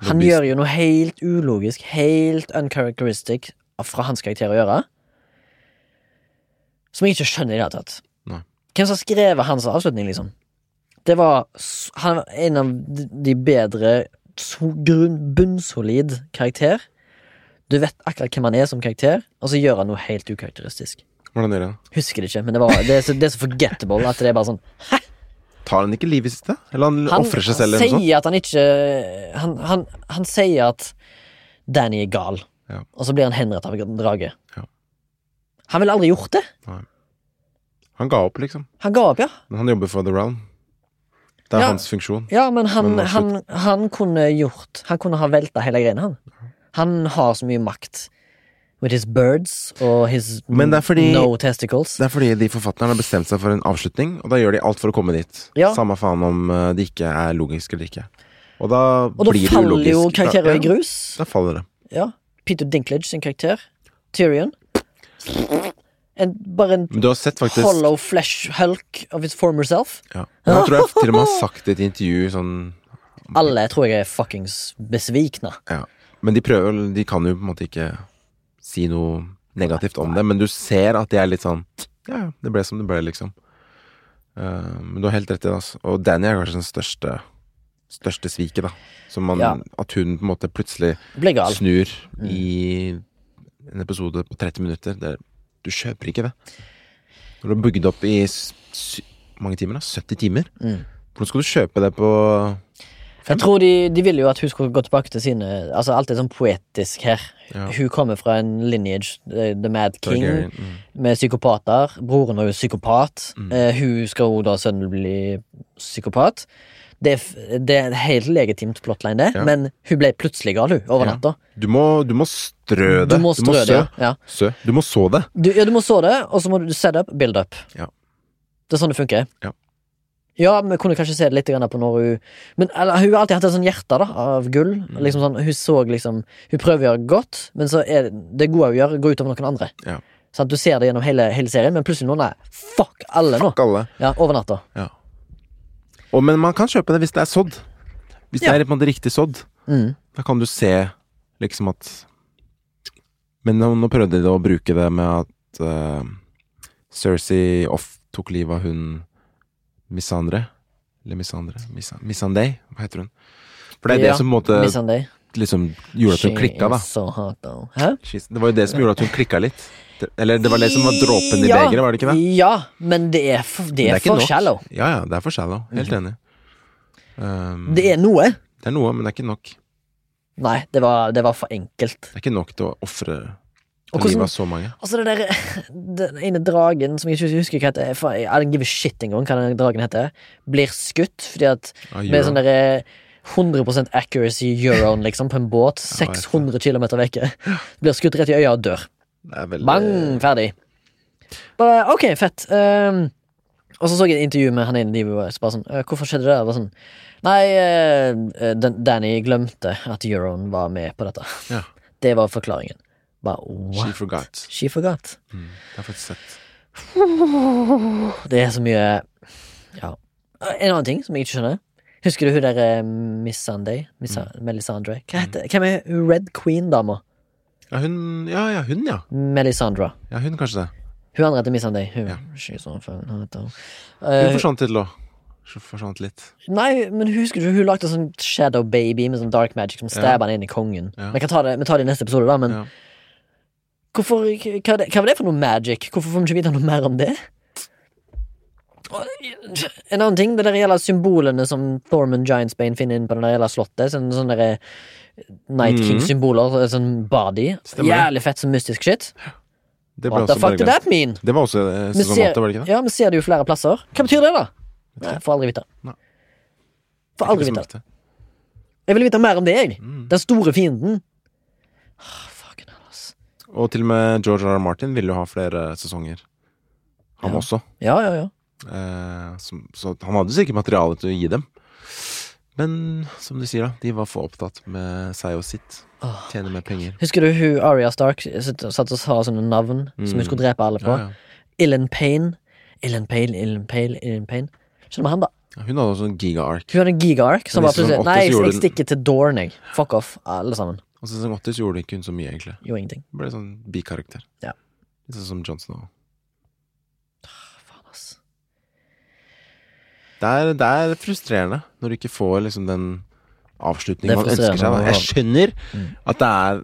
Speaker 1: Han gjør jo noe helt ulogisk, helt uncharacteristic fra hans karakter å gjøre. Som jeg ikke skjønner i det hele tatt.
Speaker 2: Nei.
Speaker 1: Hvem som skrev hans avslutning, liksom? Det var s- Han var en av de- de bedre so- grunn, bunnsolid karakter. Du vet akkurat hvem han er som karakter, og så gjør han noe helt ukarakteristisk.
Speaker 2: Hvordan gjør han det?
Speaker 1: Husker det ikke, men det, var, det, er så, det er så forgettable at det er bare sånn
Speaker 2: Tar han ikke livet sitt, da? Eller han,
Speaker 1: han,
Speaker 2: ofrer seg selv?
Speaker 1: han
Speaker 2: eller noe sånt?
Speaker 1: sier at han ikke Han, han, han sier at Danny er gal,
Speaker 2: Ja.
Speaker 1: og så blir han henrettet av en drage.
Speaker 2: Ja.
Speaker 1: Han ville aldri gjort det.
Speaker 2: Han ga opp, liksom.
Speaker 1: Han ga opp, ja.
Speaker 2: Men han jobber for The Realm. Det er
Speaker 1: Ja.
Speaker 2: hans funksjon.
Speaker 1: Ja, men han,
Speaker 2: Men
Speaker 1: han,
Speaker 2: absolutt.
Speaker 1: han kunne gjort Han kunne ha velta hele greiene, han. Han har så mye makt. With his birds og his
Speaker 2: Men det er fordi-
Speaker 1: no testicles.
Speaker 2: Det er fordi de forfatterne har bestemt seg for en avslutning, og da gjør de alt for å komme dit.
Speaker 1: Ja.
Speaker 2: Samme faen om eh, det ikke er logisk eller ikke. Og da,
Speaker 1: og da
Speaker 2: blir det
Speaker 1: faller
Speaker 2: ulogisk.
Speaker 1: jo karakterer
Speaker 2: da,
Speaker 1: i grus.
Speaker 2: Da faller det.
Speaker 1: Ja. Peter Dinklage sin karakter. Tyrion. En, bare en
Speaker 2: Men du har sett faktisk
Speaker 1: hollow flesh hulk of his former self.
Speaker 2: ja. Men Jeg tror jeg til og med har sagt det i et intervju sånn
Speaker 1: Alle tror jeg er fuckings besvikna.
Speaker 2: ja. Men de prøver De kan jo på en måte ikke si noe negativt om det, men du ser at de er litt sånn Ja, ja, det ble som det ble, liksom. Eh, men du har helt rett i det, altså. Og Danny er kanskje den største Største sviket, da. Som man
Speaker 1: Ja. Mm.
Speaker 2: At hun på en måte plutselig
Speaker 1: Ble gal.
Speaker 2: snur i en episode på 30 minutter. Det er, du kjøper ikke det. Når du har bygd opp i s- sy- mange timer, da, 70 timer,
Speaker 1: Mm.
Speaker 2: hvordan skal du kjøpe det på
Speaker 1: Jeg tror de, de ville jo at hun skulle gå tilbake til sine Altså Alt er sånn poetisk her.
Speaker 2: Ja.
Speaker 1: Hun kommer fra en lineage, eh, The Mad King,
Speaker 2: Targaryen? Mm.
Speaker 1: med psykopater. Broren var jo psykopat. Eh, hun skal jo da sønnen bli psykopat. Det er, f- det er en helt legitimt plotline, det,
Speaker 2: Ja.
Speaker 1: men hun ble plutselig gal, hun, over
Speaker 2: Ja.
Speaker 1: natta.
Speaker 2: Du, må, du må strø det.
Speaker 1: Du må strø det,
Speaker 2: sø.
Speaker 1: ja. ja.
Speaker 2: Sø. Du må så det.
Speaker 1: Du, ja, du må så det, og så må du set up, build up.
Speaker 2: Ja.
Speaker 1: Det er sånn det funker.
Speaker 2: Ja.
Speaker 1: Ja, vi kunne kanskje se det litt grann på når hun Men eller, hun har alltid hatt et sånt hjerte da, av gull.
Speaker 2: Mm.
Speaker 1: Liksom sånn, hun så liksom Hun prøver å gjøre godt, men så er det, det gode hun gjør, går ut over noen andre.
Speaker 2: Ja.
Speaker 1: Sant? du ser det gjennom hele, hele serien, men plutselig nå, nei, fuck alle nå.
Speaker 2: Fuck alle.
Speaker 1: Ja, Over natta.
Speaker 2: Ja. Og, men man kan kjøpe det hvis det er sådd. Hvis
Speaker 1: Ja.
Speaker 2: det er på en måte riktig sådd.
Speaker 1: Mm.
Speaker 2: Da kan du se liksom at Men nå, nå prøvde de å bruke det med at uh, Cersei off tok livet av hun Missandre. Eller Missandre Missa- Missandei, hva heter hun? For det er
Speaker 1: Ja,
Speaker 2: det som på en
Speaker 1: Miss
Speaker 2: måte
Speaker 1: Sunday.
Speaker 2: liksom gjorde at hun klikka, da.
Speaker 1: So hot, though. Hæ?
Speaker 2: She's- Det var jo det som gjorde at hun klikka litt. Det- Eller det var det som var dråpen i begeret, var det ikke det?
Speaker 1: Ja, men det er for, det
Speaker 2: Men
Speaker 1: er
Speaker 2: ikke
Speaker 1: for
Speaker 2: nok.
Speaker 1: shallow. Mhm.
Speaker 2: Ja, ja, det er for shallow. Helt enig. Um,
Speaker 1: Det er noe.
Speaker 2: det er noe, men det er ikke nok.
Speaker 1: Nei, det var, det var for enkelt.
Speaker 2: Det er ikke nok til å ofre
Speaker 1: Og
Speaker 2: livet
Speaker 1: hvordan-
Speaker 2: av så mange.
Speaker 1: Altså det der Den ene dragen som jeg ikke husker hva heter faen, I don't give a shit engang hva den dragen heter Blir skutt fordi at
Speaker 2: Ah,
Speaker 1: Med
Speaker 2: Euron.
Speaker 1: sånn der 100% accuracy euron liksom På en båt
Speaker 2: Ja, jeg vet det.
Speaker 1: 600 kilometer vekke Blir skutt rett i øya og dør
Speaker 2: Det er veldig
Speaker 1: Bang, ferdig Bare, Ok, fett Ehm, Og så så jeg et intervju med han ene de var så bare sånn «Eh, Hvorfor skjedde det? Jeg Bare sånn, Nei, eh, Dan- Danny glemte at euron var med på dette
Speaker 2: Ja.
Speaker 1: Det var forklaringen Bare,
Speaker 2: She
Speaker 1: what?
Speaker 2: forgot.
Speaker 1: She forgot
Speaker 2: Mm, det har jeg faktisk sett.
Speaker 1: Det er så mye Ja. En annen ting som jeg ikke skjønner. Husker du hun der eh, Miss Sunday? Miss
Speaker 2: Mm.
Speaker 1: Melisandre? Hva heter, hvem er hun Red Queen-dama?
Speaker 2: Ja, hun, ja, ja, hun, ja.
Speaker 1: Melisandra.
Speaker 2: Ja, hun kanskje det.
Speaker 1: Hun andre heter Miss Sunday. Hun,
Speaker 2: Ja.
Speaker 1: she's on fire, hun heter hun.
Speaker 2: Hun
Speaker 1: Eh,
Speaker 2: forsvant litt, da. Hun Forsvant litt.
Speaker 1: nei, men husker du hun lagde en sånn Shadow Baby med sånn dark magic som stabba han inn i kongen?
Speaker 2: Ja.
Speaker 1: Vi kan ta det, vi tar det i neste episode, da, men
Speaker 2: Ja.
Speaker 1: hvorfor, hva, er det, hva var det for noe magic? Hvorfor får vi ikke vite noe mer om det? Og, En annen ting, det der gjelder symbolene som Thorman Giantsbane finner inn på det der gjelder slottet. Sånn, sånne der Night King-symboler, sånn body.
Speaker 2: Mhm. Stemmer.
Speaker 1: Jævlig fett som mystisk shit.
Speaker 2: Det ble
Speaker 1: What the
Speaker 2: også
Speaker 1: fuck
Speaker 2: bare
Speaker 1: did
Speaker 2: glemt.
Speaker 1: that mean?
Speaker 2: Det var også eh,
Speaker 1: Vi
Speaker 2: sesong
Speaker 1: ser-
Speaker 2: åtte, var det ikke det?
Speaker 1: Ja, vi ser det jo flere plasser. Hva betyr det, da? Nei, får aldri vite.
Speaker 2: Nei.
Speaker 1: Får aldri
Speaker 2: Ikke Mm.
Speaker 1: vite.
Speaker 2: som dette.
Speaker 1: Jeg vil vite mer om deg. Den store fienden. Ah, fucking hell, ass.
Speaker 2: Og til og med George R. R. Martin ville jo ha flere sesonger. Han
Speaker 1: Ja.
Speaker 2: også.
Speaker 1: Ja, ja, ja.
Speaker 2: Eh, som, så han hadde sikkert materiale til å gi dem. Men som du sier, da. De var for opptatt med seg og sitt.
Speaker 1: Åh.
Speaker 2: Tjene mer penger.
Speaker 1: Husker du hun Aria Stark satt satt og sa sånne navn som hun skulle drepe alle på?
Speaker 2: Mm. Ja, ja.
Speaker 1: Illen Payne. Illen Payne, Illen Payne, Illen Payne. Skjønner du han, da?
Speaker 2: Ja, Hun hadde også en giga-ark.
Speaker 1: Hun hadde en giga-ark som
Speaker 2: Men i
Speaker 1: var plutselig
Speaker 2: sesong åtte
Speaker 1: Nei,
Speaker 2: så
Speaker 1: jeg,
Speaker 2: gjorde
Speaker 1: jeg
Speaker 2: hun-
Speaker 1: stikker til Dorn, jeg. Fuck off, alle sammen.
Speaker 2: Og i sesong 80 så Altså, gjorde ikke hun så mye, egentlig.
Speaker 1: Gjorde ingenting.
Speaker 2: Hun ble sånn bikarakter.
Speaker 1: Ja.
Speaker 2: Litt sånn som Johnson og
Speaker 1: Faen, ass.
Speaker 2: Det er, det er frustrerende når du ikke får liksom den
Speaker 1: Det
Speaker 2: avslutningen
Speaker 1: er
Speaker 2: man ønsker seg.
Speaker 1: frustrerende,
Speaker 2: da. Jeg skjønner
Speaker 1: Mm.
Speaker 2: at det er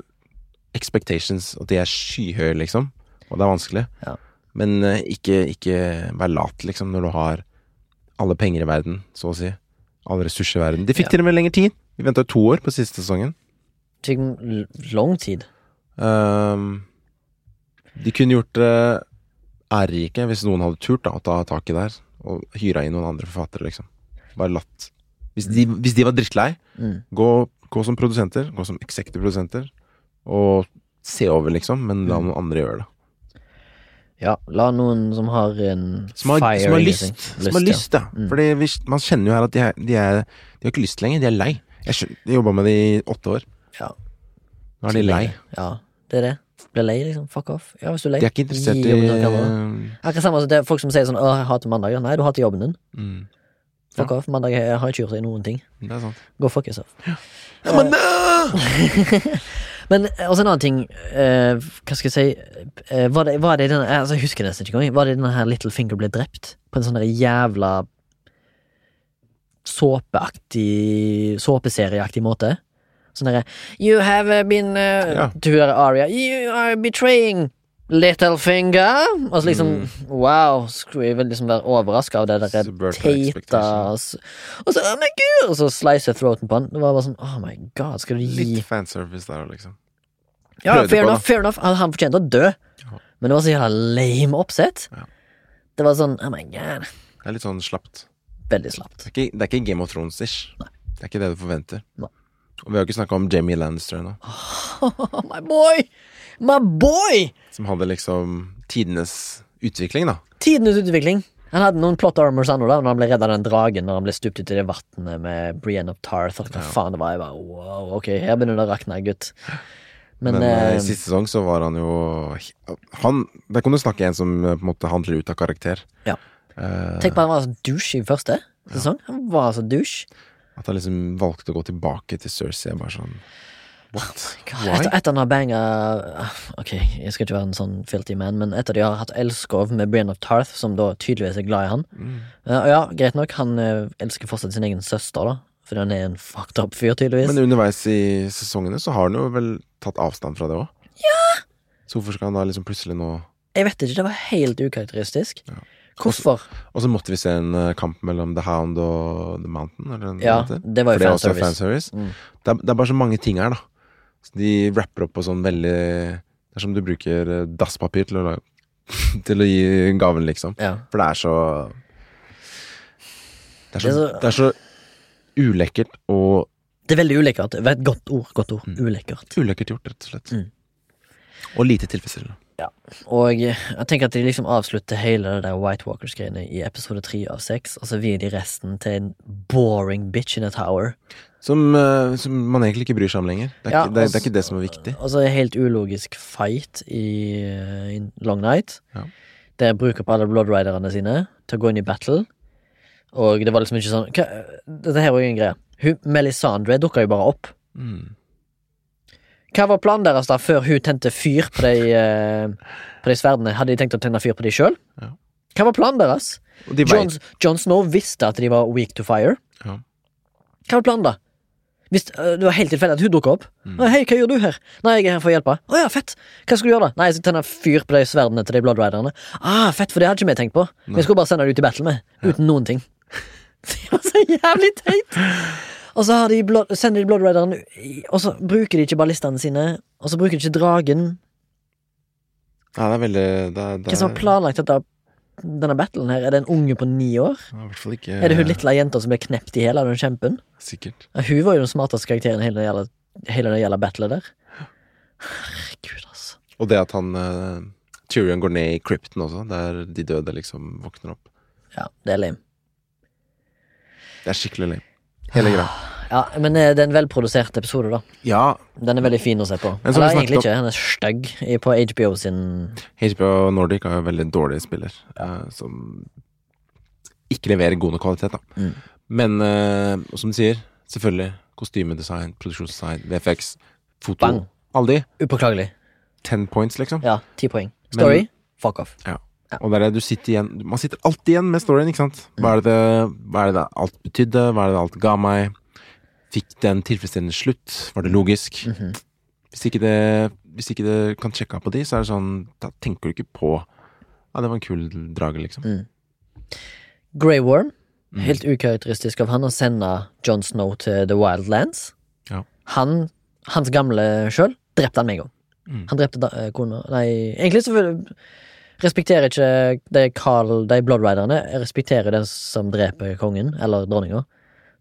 Speaker 2: expectations, at de er skyhøye, liksom. Og det er vanskelig.
Speaker 1: Ja.
Speaker 2: Men eh, ikke, ikke vær lat, liksom, når du har alle penger i verden, så å si. Alle ressurser i verden. De fikk
Speaker 1: Ja.
Speaker 2: til og med lenger tid. Vi venta to år på siste sesongen.
Speaker 1: Fikk l- lang tid.
Speaker 2: Ehm, de kunne gjort det ærerike hvis noen hadde turt da, å ta tak i det her, og hyra inn noen andre forfattere, liksom. Bare latt. Hvis de, hvis de var drittlei,
Speaker 1: Mm.
Speaker 2: gå, gå som produsenter, gå som executive produsenter, og se over, liksom, men
Speaker 1: Mm.
Speaker 2: la noen andre gjøre det.
Speaker 1: Ja, la noen som har en
Speaker 2: Som har,
Speaker 1: fire
Speaker 2: som har
Speaker 1: i
Speaker 2: lyst.
Speaker 1: seg-
Speaker 2: Som har lyst, ja.
Speaker 1: Mm.
Speaker 2: Fordi vi, man kjenner jo her at de, er, de, er, de har ikke lyst lenger. De er lei. Jeg skjønner- jeg jobba med det i åtte år.
Speaker 1: Ja.
Speaker 2: Nå er de lei.
Speaker 1: Ja, det er det. Blir lei, liksom. Fuck off. Ja, hvis du er lei.
Speaker 2: De er ikke interessert
Speaker 1: gi
Speaker 2: i
Speaker 1: jobben til noen andre. Akkurat samme som det er folk som sier sånn Åh, jeg hater mandager. Nei, du hater jobben din.
Speaker 2: mm,
Speaker 1: Fuck off. Mandag jeg har ikke gjort deg noen ting.
Speaker 2: Det er sant.
Speaker 1: Go fuck yourself.
Speaker 2: Men, øh,
Speaker 1: Men eh, også en annen ting eh, Hva skal jeg si eh, var, det, var det denne eh, altså, Jeg husker nesten ikke engang. Var det denne her Little Finger ble drept? På en sånn der jævla såpeaktig Såpeserieaktig måte? Sånn derre You have eh, been
Speaker 2: Ja.
Speaker 1: uh, To her Aria. You are betraying Little Finger. Og så liksom Wow. Skulle jeg vel liksom være overraska av det derre
Speaker 2: Subvert our
Speaker 1: teita Og så, og så, oh my God, og så slicer throaten på han. Det var bare sånn Oh my god, skal du gi
Speaker 2: Litt fanservice der òg, liksom.
Speaker 1: ja,
Speaker 2: prøvde
Speaker 1: fair
Speaker 2: på,
Speaker 1: enough, fair enough. Han, han fortjente å dø.
Speaker 2: Ja.
Speaker 1: Men det var så jævla lame oppsett.
Speaker 2: Ja.
Speaker 1: Det var sånn oh my god,
Speaker 2: Det er litt sånn slapt.
Speaker 1: Veldig slapt.
Speaker 2: Det er ikke, det er ikke Game of Thrones-ish. Det er ikke det du forventer.
Speaker 1: Nei.
Speaker 2: Og vi har ikke snakka om Jamie Lannister ennå,
Speaker 1: Oh, my boy! My boy!
Speaker 2: som hadde liksom tidenes utvikling, da.
Speaker 1: Tidenes utvikling. Han hadde noen plot armors ennå, da når han ble redda av den dragen Når han ble stupt uti det vannet med Brienne of Tarth. og Hva faen det var? Jeg bare, wow, ok, her begynner det å rakne, gutt. Men,
Speaker 2: Men, eh,
Speaker 1: eh,
Speaker 2: i siste sesong så var han jo han, Der kan du snakke en som eh, på en måte handler ut av karakter.
Speaker 1: Ja.
Speaker 2: Eh,
Speaker 1: tenk på at han var så douche i første sesong. Han var så douche.
Speaker 2: at han liksom valgte å gå tilbake til Cersei. Jeg Bare sånn What?
Speaker 1: God,
Speaker 2: Why?
Speaker 1: etter, etter han har banga Ah, Ok, jeg skal ikke være en sånn filthy man, men etter de har hatt elskov med Brian of Tarth, som da tydeligvis er glad i han
Speaker 2: Mm.
Speaker 1: Eh, Og ja, greit nok, han eh, elsker fortsatt sin egen søster, da, fordi han er en fucked up fyr, tydeligvis.
Speaker 2: Men underveis i sesongene så har han jo vel tatt avstand fra det òg. Ja! Så hvorfor skal han da liksom plutselig nå
Speaker 1: Jeg vet ikke, det var helt ukarakteristisk.
Speaker 2: Ja.
Speaker 1: Hvorfor?
Speaker 2: Og så måtte vi se en eh, kamp mellom The Hound og The Mountain. Eller hva
Speaker 1: Ja,
Speaker 2: heter.
Speaker 1: det var jo
Speaker 2: For også er
Speaker 1: fanservice. Mm.
Speaker 2: fanservice. Det, er, det er bare så mange ting her, da. Så de rapper opp på sånn veldig Det er som du bruker eh, dasspapir til å, lage- til å gi gaven, liksom.
Speaker 1: Ja.
Speaker 2: For det er så Det er så,
Speaker 1: Det
Speaker 2: det er så ulekkert og
Speaker 1: Det er veldig ulekkert. Det var Et godt ord. godt ord,
Speaker 2: Mm.
Speaker 1: Ulekkert.
Speaker 2: Ulekkert gjort, rett og slett.
Speaker 1: Mm.
Speaker 2: Og lite tilfredsstillende.
Speaker 1: Og eh, jeg tenker at de liksom avslutter hele det der White Walkers-greiene i episode tre av seks, og så vier de resten til en boring bitch in a tower.
Speaker 2: Som, eh, som man egentlig ikke bryr seg om lenger. Det er,
Speaker 1: Ja,
Speaker 2: ikke, det, er, det
Speaker 1: altså-
Speaker 2: er ikke det som er viktig.
Speaker 1: Altså en helt ulogisk fight i, eh, i Long Night.
Speaker 2: Ja.
Speaker 1: Der jeg bruker opp alle bloodriderne sine til å gå inn i battle. Og det var liksom ikke sånn hva, Dette her var jo en greie. Hun, Melisandre dukka jo bare opp.
Speaker 2: Mm.
Speaker 1: Hva var planen deres da før hun tente fyr på de, eh, på de sverdene? Hadde de tenkt å tenne fyr på de sjøl?
Speaker 2: Ja.
Speaker 1: Hva var planen deres?
Speaker 2: Og de
Speaker 1: Jon
Speaker 2: vet-
Speaker 1: Jon Snow visste at de var weak to fire.
Speaker 2: Ja.
Speaker 1: Hva var planen, da? Hvis, øh, det var helt tilfeldig at hun dukka opp. Å, 'Hei, hva gjør du her?' 'Nei, jeg er her for å hjelpe.' 'Å ja, fett. Hva skal du gjøre, da?' 'Nei, jeg skal tenne fyr på de sverdene til de Blood Riderne.' 'Ah, fett, for det hadde ikke vi tenkt på. Vi skulle bare sende det ut i battle med. Uten noen ting.' Det var så jævlig teit! Og så har de blood, sender de Blood Riderne i- Og så bruker de ikke ballistene sine. Og så bruker de ikke dragen.
Speaker 2: Nei, det er veldig det er, det
Speaker 1: Hva som
Speaker 2: er-
Speaker 1: har planlagt dette, denne battlen her? Er det en unge på ni år?
Speaker 2: Ja, I hvert fall ikke
Speaker 1: Er det hun lille jenta som ble knept i hjel av den kjempen?
Speaker 2: Sikkert.
Speaker 1: Ja, hun var jo den smarteste karakteren i hele det gjelder, hele det gjelder battlet der. Herregud, altså.
Speaker 2: Og det at han eh, Tyrion går ned i krypten også, der de døde liksom våkner opp.
Speaker 1: Ja, det er lame.
Speaker 2: Det er skikkelig lame. Hele greia.
Speaker 1: Ja, men eh, det er en velprodusert episode, da.
Speaker 2: Ja,
Speaker 1: Den er veldig fin å se på.
Speaker 2: Men som
Speaker 1: Eller
Speaker 2: vi
Speaker 1: egentlig
Speaker 2: snakket
Speaker 1: ikke, den er stygg i- på HBO sin
Speaker 2: HBO Nordic er jo veldig dårlig spiller, eh, som ikke leverer god nok kvalitet, da.
Speaker 1: Mm.
Speaker 2: Men eh, og som du sier, selvfølgelig kostymedesign, produksjonsdesign, VFX, foto
Speaker 1: Bang.
Speaker 2: Alle de.
Speaker 1: Upåklagelig.
Speaker 2: Ten points, liksom.
Speaker 1: Ja, ti poeng. Story, fuck off.
Speaker 2: Ja. Og det er det du sitter igjen Man sitter alltid igjen med storyen, ikke sant? Hva er det det, hva er det, det alt betydde? Hva er det det alt ga meg? Fikk det en tilfredsstillende slutt? Var
Speaker 1: Mm.
Speaker 2: det logisk?
Speaker 1: Mhm.
Speaker 2: Hvis ikke det Hvis ikke det kan sjekke av på de, så er det sånn Da tenker du ikke på Ja, det var en kul drage, liksom.
Speaker 1: Mm. Grey Worm,
Speaker 2: Mm.
Speaker 1: helt ukarakteristisk av han å sende John Snow til The Wildlands.
Speaker 2: Ja.
Speaker 1: Han, hans gamle sjøl, drepte han med en gang.
Speaker 2: Mm.
Speaker 1: Han drepte da, eh, kona Nei, egentlig så vil- respekterer ikke de, Carl, de Bloodriderne jeg respekterer den som dreper kongen, eller dronninga.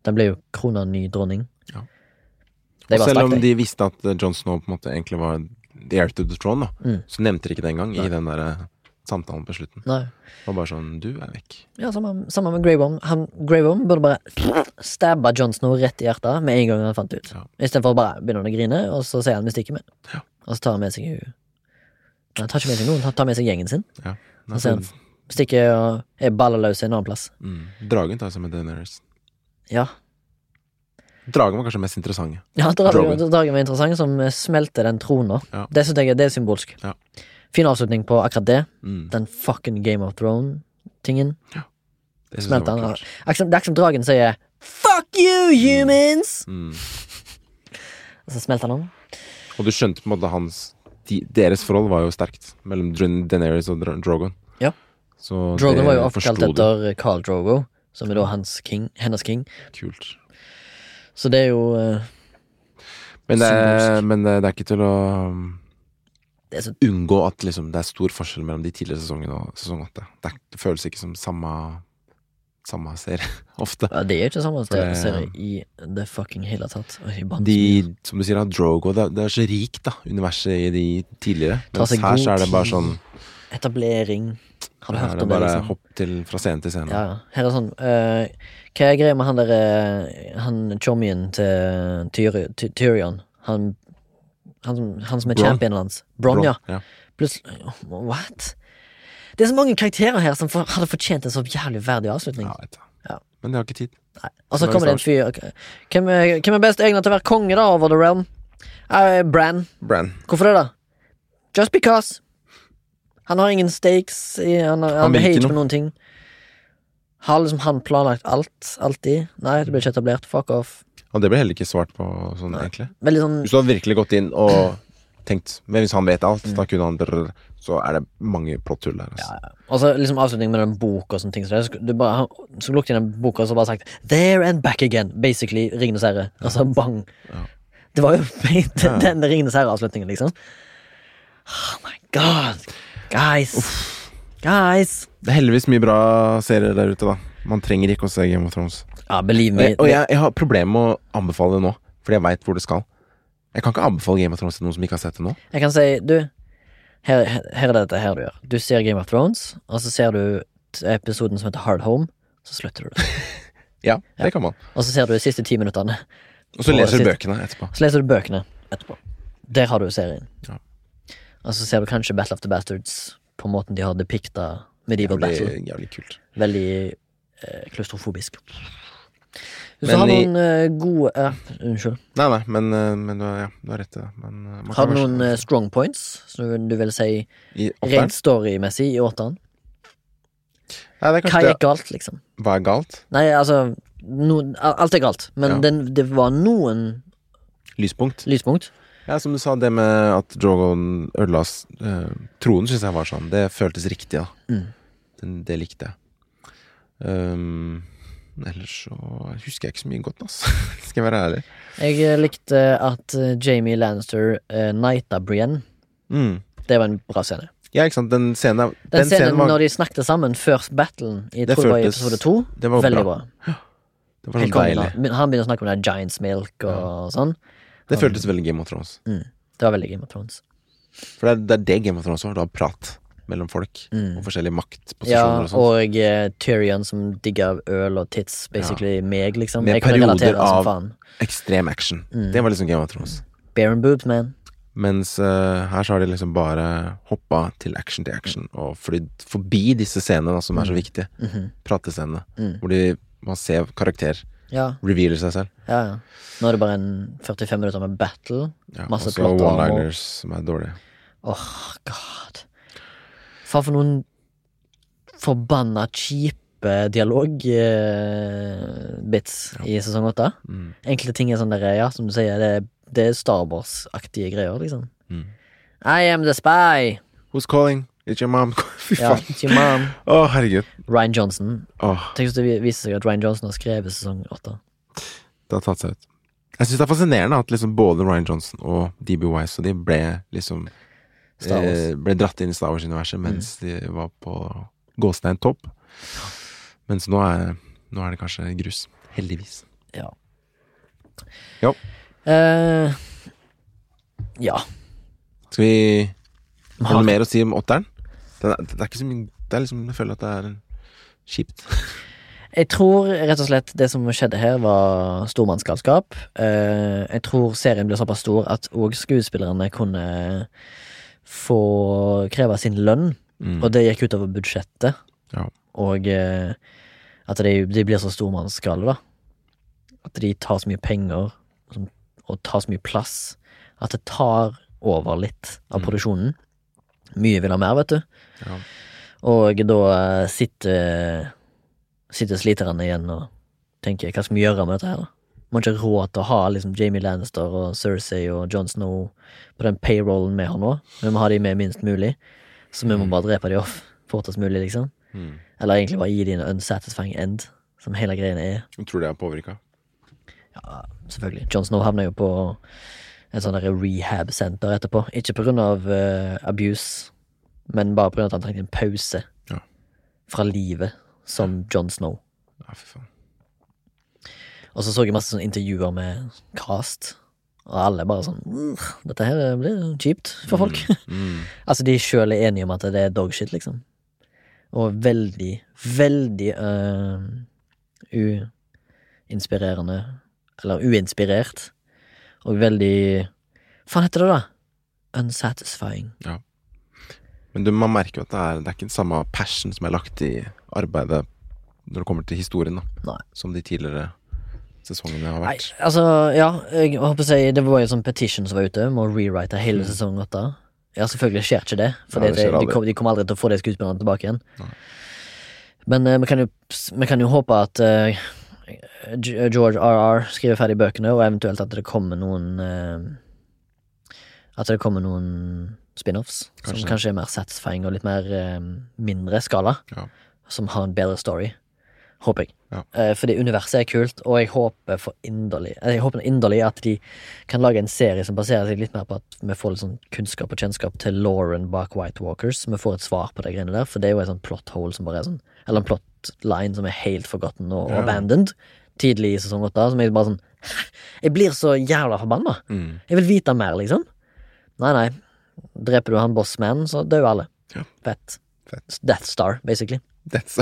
Speaker 1: Den ble jo krona ny dronning.
Speaker 2: Ja.
Speaker 1: De
Speaker 2: Og
Speaker 1: bare
Speaker 2: selv
Speaker 1: stakk
Speaker 2: om
Speaker 1: deg.
Speaker 2: de visste at eh, Jon Snow på en måte egentlig var The Air to the Throne, da,
Speaker 1: Mm.
Speaker 2: så nevnte de ikke det engang i den der eh, samtalen på slutten.
Speaker 1: Nei.
Speaker 2: Det var bare sånn Du er vekk.
Speaker 1: Ja, samme, samme med Greybomb. Han Greybomb burde bare stabba Jon Snow rett i hjertet med en gang han fant det ut.
Speaker 2: Ja.
Speaker 1: Istedenfor å bare begynne å grine, og så sier han vi stikker med.
Speaker 2: Ja.
Speaker 1: Og så tar han med seg hun Nei, han tar ikke med seg noen, han tar med seg gjengen sin.
Speaker 2: Ja.
Speaker 1: Og så er han- Stikker og er ballerløs en annen plass.
Speaker 2: mm. Dragen tar seg med Daenerys.
Speaker 1: Ja.
Speaker 2: Dragen var kanskje mest interessant.
Speaker 1: ja dragen,
Speaker 2: Drogon.
Speaker 1: dragen var interessant, som smelter den trona.
Speaker 2: Ja.
Speaker 1: Det synes jeg er- det er symbolsk.
Speaker 2: Ja.
Speaker 1: Fin avslutning på akkurat det.
Speaker 2: Mm.
Speaker 1: Den fucking Game of Throne-tingen.
Speaker 2: Det synes jeg
Speaker 1: Smelter
Speaker 2: var
Speaker 1: han.
Speaker 2: kult.
Speaker 1: Akkurat- Det er ikke som dragen sier 'fuck you, humans'!
Speaker 2: Mm.
Speaker 1: Og så smelter han om.
Speaker 2: Og du skjønte på en måte hans de, Deres forhold var jo sterkt mellom Dra- Daenerys og Dra- Drogon.
Speaker 1: Ja.
Speaker 2: Så
Speaker 1: Drogo
Speaker 2: det
Speaker 1: var jo
Speaker 2: forsto
Speaker 1: oppkalt
Speaker 2: du. Mm.
Speaker 1: etter Carl Drogo, som er da hans king, hennes king.
Speaker 2: Kult.
Speaker 1: Så det er jo eh,
Speaker 2: Men, det er,
Speaker 1: Symbolsk.
Speaker 2: men eh, det, det er ikke til å um,
Speaker 1: det er så,
Speaker 2: unngå at liksom, det er stor forskjell mellom de tidligere sesongene og sesong åtte. Det, er- det føles ikke som samme Samme serie ofte.
Speaker 1: ja, Det er ikke samme
Speaker 2: For det-
Speaker 1: serie i det fucking hele tatt. Oi, jeg banner så mye.
Speaker 2: De, som du sier, da, Drogo Det, er- det er så rikt, da, universet i de tidligere.
Speaker 1: Tar
Speaker 2: Mens
Speaker 1: seg
Speaker 2: her
Speaker 1: god
Speaker 2: så er det bare
Speaker 1: tid.
Speaker 2: sånn
Speaker 1: Etablering. Har du
Speaker 2: her
Speaker 1: hørt
Speaker 2: er det
Speaker 1: om det?
Speaker 2: bare
Speaker 1: Liksom?
Speaker 2: hopp til, fra scene til scene.
Speaker 1: Ja, ja. Her er sånn eh, Hva er greia med han der eh, Han chommien til Tyri- Ty- Tyrion? Han, han, som- han som er
Speaker 2: Bronn.
Speaker 1: championen hans? Bronn, ja.
Speaker 2: ja.
Speaker 1: Plutselig What? Det er så mange karakterer her som for, hadde fortjent en så jævlig verdig avslutning.
Speaker 2: Ja, vet du.
Speaker 1: Ja.
Speaker 2: Men de har ikke tid.
Speaker 1: Nei. Og så
Speaker 2: Nå er
Speaker 1: kommer det en
Speaker 2: det
Speaker 1: fyr ok. hvem er, hvem er best egnet til å være konge da over The Realm? Eh, Bran.
Speaker 2: Bran.
Speaker 1: Hvorfor det, da? Just because. Han har ingen stakes. I, han har- han
Speaker 2: vil
Speaker 1: heier
Speaker 2: ikke
Speaker 1: ikke på
Speaker 2: noe.
Speaker 1: noen ting. Har liksom han planlagt alt? Alltid? Nei, det blir ikke etablert. Fuck off.
Speaker 2: Og det ble heller ikke svart på sånn, egentlig.
Speaker 1: Veldig sånn
Speaker 2: Hvis du hadde virkelig gått inn og tenkt Men hvis han vet alt,
Speaker 1: Mm.
Speaker 2: da kunne han drrr, Så er det mange plotthull der. Altså.
Speaker 1: Og så liksom avslutningen med den boka og sånne ting. Så, det, du bare, han, så lukte jeg den boka og så bare sagt 'There and back again'. Basically Ringenes herre. Og så bang. Det var jo den, den Ringenes herre-avslutningen, liksom. Oh my god. Guys. Guys.
Speaker 2: Det er heldigvis mye bra serier der ute, da. Man trenger ikke å se Game of Thrones.
Speaker 1: Ja,
Speaker 2: Og
Speaker 1: believe me.
Speaker 2: jeg, Eh, og jeg, jeg har problemer med å anbefale det nå, fordi jeg veit hvor det skal. Jeg kan ikke anbefale Game of Thrones til noen som ikke har sett det nå.
Speaker 1: Jeg kan si, du her, her er det dette her du gjør. Du ser Game of Thrones, og så ser du t- episoden som heter Hard Home. Så slutter du det.
Speaker 2: Ja, det kan man.
Speaker 1: Og så ser du de siste ti minuttene.
Speaker 2: Og så
Speaker 1: Og
Speaker 2: leser du
Speaker 1: sitt-
Speaker 2: bøkene etterpå.
Speaker 1: Så leser du bøkene etterpå. Der har du serien.
Speaker 2: Ja.
Speaker 1: Og så ser du kanskje Battle of the Bastards på måten de har depikta medieval
Speaker 2: Det blir
Speaker 1: battle.
Speaker 2: jævlig kult.
Speaker 1: Veldig eh, klaustrofobisk.
Speaker 2: Men
Speaker 1: Hvis du har
Speaker 2: i-
Speaker 1: noen eh, gode eh, Unnskyld.
Speaker 2: Nei, nei, men, eh, men du, har- ja, du har rett i det. Men, eh, man
Speaker 1: Har
Speaker 2: kan
Speaker 1: du
Speaker 2: være-
Speaker 1: noen eh, strong points som du, du vil si
Speaker 2: I åtteren?
Speaker 1: rent storymessig i åtteren?
Speaker 2: Nei, det er
Speaker 1: Hva
Speaker 2: kanskje det.
Speaker 1: gikk galt, liksom?
Speaker 2: Hva er galt?
Speaker 1: Nei, altså noen- Alt er galt, men
Speaker 2: Ja.
Speaker 1: den, det var noen
Speaker 2: Lyspunkt.
Speaker 1: lyspunkt.
Speaker 2: Ja, som du sa, det med at Drogon ødela s- eh, tronen, syns jeg var sånn. Det føltes riktig, da.
Speaker 1: Mm.
Speaker 2: Den, det likte jeg. Um, ellers så husker jeg ikke så mye godt, ass. Skal jeg være ærlig.
Speaker 1: Jeg eh, likte at eh, Jamie Lannister uh, nighta Brienne.
Speaker 2: Mm.
Speaker 1: Det var en bra scene.
Speaker 2: Ja, ikke sant. Den scenen, er-
Speaker 1: Den, scenen
Speaker 2: var,
Speaker 1: når de snakket sammen før battlen i
Speaker 2: Det
Speaker 1: tror jeg var i
Speaker 2: føltes-
Speaker 1: episode to,
Speaker 2: det var
Speaker 1: veldig
Speaker 2: bra.
Speaker 1: bra.
Speaker 2: det var sånn
Speaker 1: Helt kongen,
Speaker 2: deilig.
Speaker 1: da. Han begynner å snakke om det her Giants Milk og sånn.
Speaker 2: Det føltes veldig Game of Thrones.
Speaker 1: Mm. Det var veldig Game of Thrones.
Speaker 2: For det er, det er det Game of Thrones var. Du har prat mellom folk og forskjellige maktposisjoner
Speaker 1: Mm. Ja,
Speaker 2: og sånn.
Speaker 1: og eh, Tyrion som digger øl og tits, basically meg, liksom.
Speaker 2: Med
Speaker 1: Jeg kan
Speaker 2: perioder
Speaker 1: relatere
Speaker 2: av-
Speaker 1: som faen.
Speaker 2: Ekstrem action.
Speaker 1: Mm.
Speaker 2: Det var liksom Game of Thrones.
Speaker 1: Bare and boobs, man.
Speaker 2: Mens eh, her så har de liksom bare hoppa til action til action og flydd forbi disse scenene da, som er så
Speaker 1: Mm.
Speaker 2: viktige.
Speaker 1: Mhm.
Speaker 2: Pratescenene. Hvor de, man ser karakter
Speaker 1: Ja,
Speaker 2: revealer seg selv.
Speaker 1: ja, ja. Nå er det bare en 45 minutter med battle.
Speaker 2: Ja,
Speaker 1: Masse
Speaker 2: også
Speaker 1: plot armor.
Speaker 2: one-liners som er dårlige.
Speaker 1: Åh, god. Faen for noen forbanna kjipe dialogbits i sesong åtte. Enkle ting er sånn der, ja, som du sier, det, det er Star Wars-aktige greier, liksom. I am the spy!
Speaker 2: Who's calling? It's your mom. Fy
Speaker 1: Ja,
Speaker 2: faen.
Speaker 1: it's your mom.
Speaker 2: Å, herregud.
Speaker 1: Ryan Johnson.
Speaker 2: Åh,
Speaker 1: Tenk hvis det vi- viser seg at Ryan Johnson har skrevet sesong åtte.
Speaker 2: det har tatt seg ut. Jeg syns det er fascinerende at liksom både Ryan Johnson og DB Wise og de ble liksom
Speaker 1: Star Wars.
Speaker 2: eh, Ble dratt inn i Star Wars-universet mens de var på Gåstein topp. Mens nå er, nå er det kanskje grus. Heldigvis.
Speaker 1: Ja.
Speaker 2: Ja.
Speaker 1: Eh, ja.
Speaker 2: Skal vi
Speaker 1: Har-
Speaker 2: Har du noe mer å si om åtteren? Den er, det er ikke så mye Det er liksom Jeg føler at det er kjipt.
Speaker 1: Jeg tror rett og slett det som skjedde her, var stormannsgalskap. Eh, jeg tror serien ble såpass stor at òg skuespillerne kunne få kreve sin lønn,
Speaker 2: Mm.
Speaker 1: og det gikk utover budsjettet.
Speaker 2: Ja.
Speaker 1: Og eh, at de, de blir så stormannsgale, da. At de tar så mye penger som, og tar så mye plass at det tar over litt av produksjonen. Mye vil ha mer, vet du.
Speaker 2: Mm. Ja.
Speaker 1: Og da eh, sitter, sitter sliterne igjen og tenker hva skal vi gjøre med dette her, da? Man har ikke råd til å ha liksom, Jamie Lannister og Cersei og John Snow på den payrollen vi har nå. Vi må ha de med minst mulig, så vi må bare drepe de off fortest mulig, liksom.
Speaker 2: Mm.
Speaker 1: Eller egentlig bare gi de en unsatisfying end, som hele greien er.
Speaker 2: Jeg tror det er påvirka.
Speaker 1: Selvfølgelig. John Snow havner jo på en sånn derre rehab-senter etterpå. Ikke på grunn av eh, abuse, men bare på grunn av at han trengte en pause
Speaker 2: Ja.
Speaker 1: fra livet som John Snow.
Speaker 2: Ja, fy faen.
Speaker 1: Og så så jeg masse sånne intervjuer med cast, og alle bare sånn "Ugh, Dette her eh, blir kjipt for folk.
Speaker 2: Mm.
Speaker 1: altså, de sjøl er enige om at det er dogshit, liksom. Og veldig, veldig øh, uinspirerende Eller uinspirert. Og veldig Hva heter det, da? Unsatisfying.
Speaker 2: Men du, man merker jo at det er, det er ikke den samme passion som er lagt i arbeidet når det kommer til historien, da.
Speaker 1: Nei.
Speaker 2: Som de tidligere sesongene har
Speaker 1: Nei,
Speaker 2: vært.
Speaker 1: altså, ja, jeg håper å si Det var jo sånn petition som var ute, med å rewrite hele sesong åtte. Ja, selvfølgelig skjer ikke det, for
Speaker 2: Nei, Mm. det skjer
Speaker 1: de,
Speaker 2: aldri.
Speaker 1: kom, de kommer aldri til å få de skuespillerne tilbake igjen.
Speaker 2: Nei.
Speaker 1: Men eh, vi kan, jo, vi kan jo håpe at eh, G- eh, George RR skriver ferdig bøkene, og eventuelt at det kommer noen eh, At det kommer noen spin-offs som
Speaker 2: Kanskje.
Speaker 1: kanskje er mer satisfying og litt mer eh, mindre skala
Speaker 2: Ja.
Speaker 1: som har en bedre story. Håper jeg.
Speaker 2: Ja.
Speaker 1: Eh, fordi universet er kult, og jeg håper for inderlig eh, Jeg håper inderlig at de kan lage en serie som baserer seg litt mer på at vi får litt sånn kunnskap og kjennskap til Lauren bak White Walkers. Så vi får et svar på de greiene der, for det er jo en sånn plot hole som bare er sånn Eller en plot line som er helt forgotten og
Speaker 2: Ja.
Speaker 1: abandoned tidlig i sesong åtte. Som jeg bare sånn Jeg blir så jævla forbanna.
Speaker 2: Mm.
Speaker 1: Jeg vil vite mer, liksom. Nei, nei. Dreper du han bossmannen, så dør alle.
Speaker 2: Ja.
Speaker 1: Fett.
Speaker 2: Fett.
Speaker 1: Death Star, basically.
Speaker 2: That's,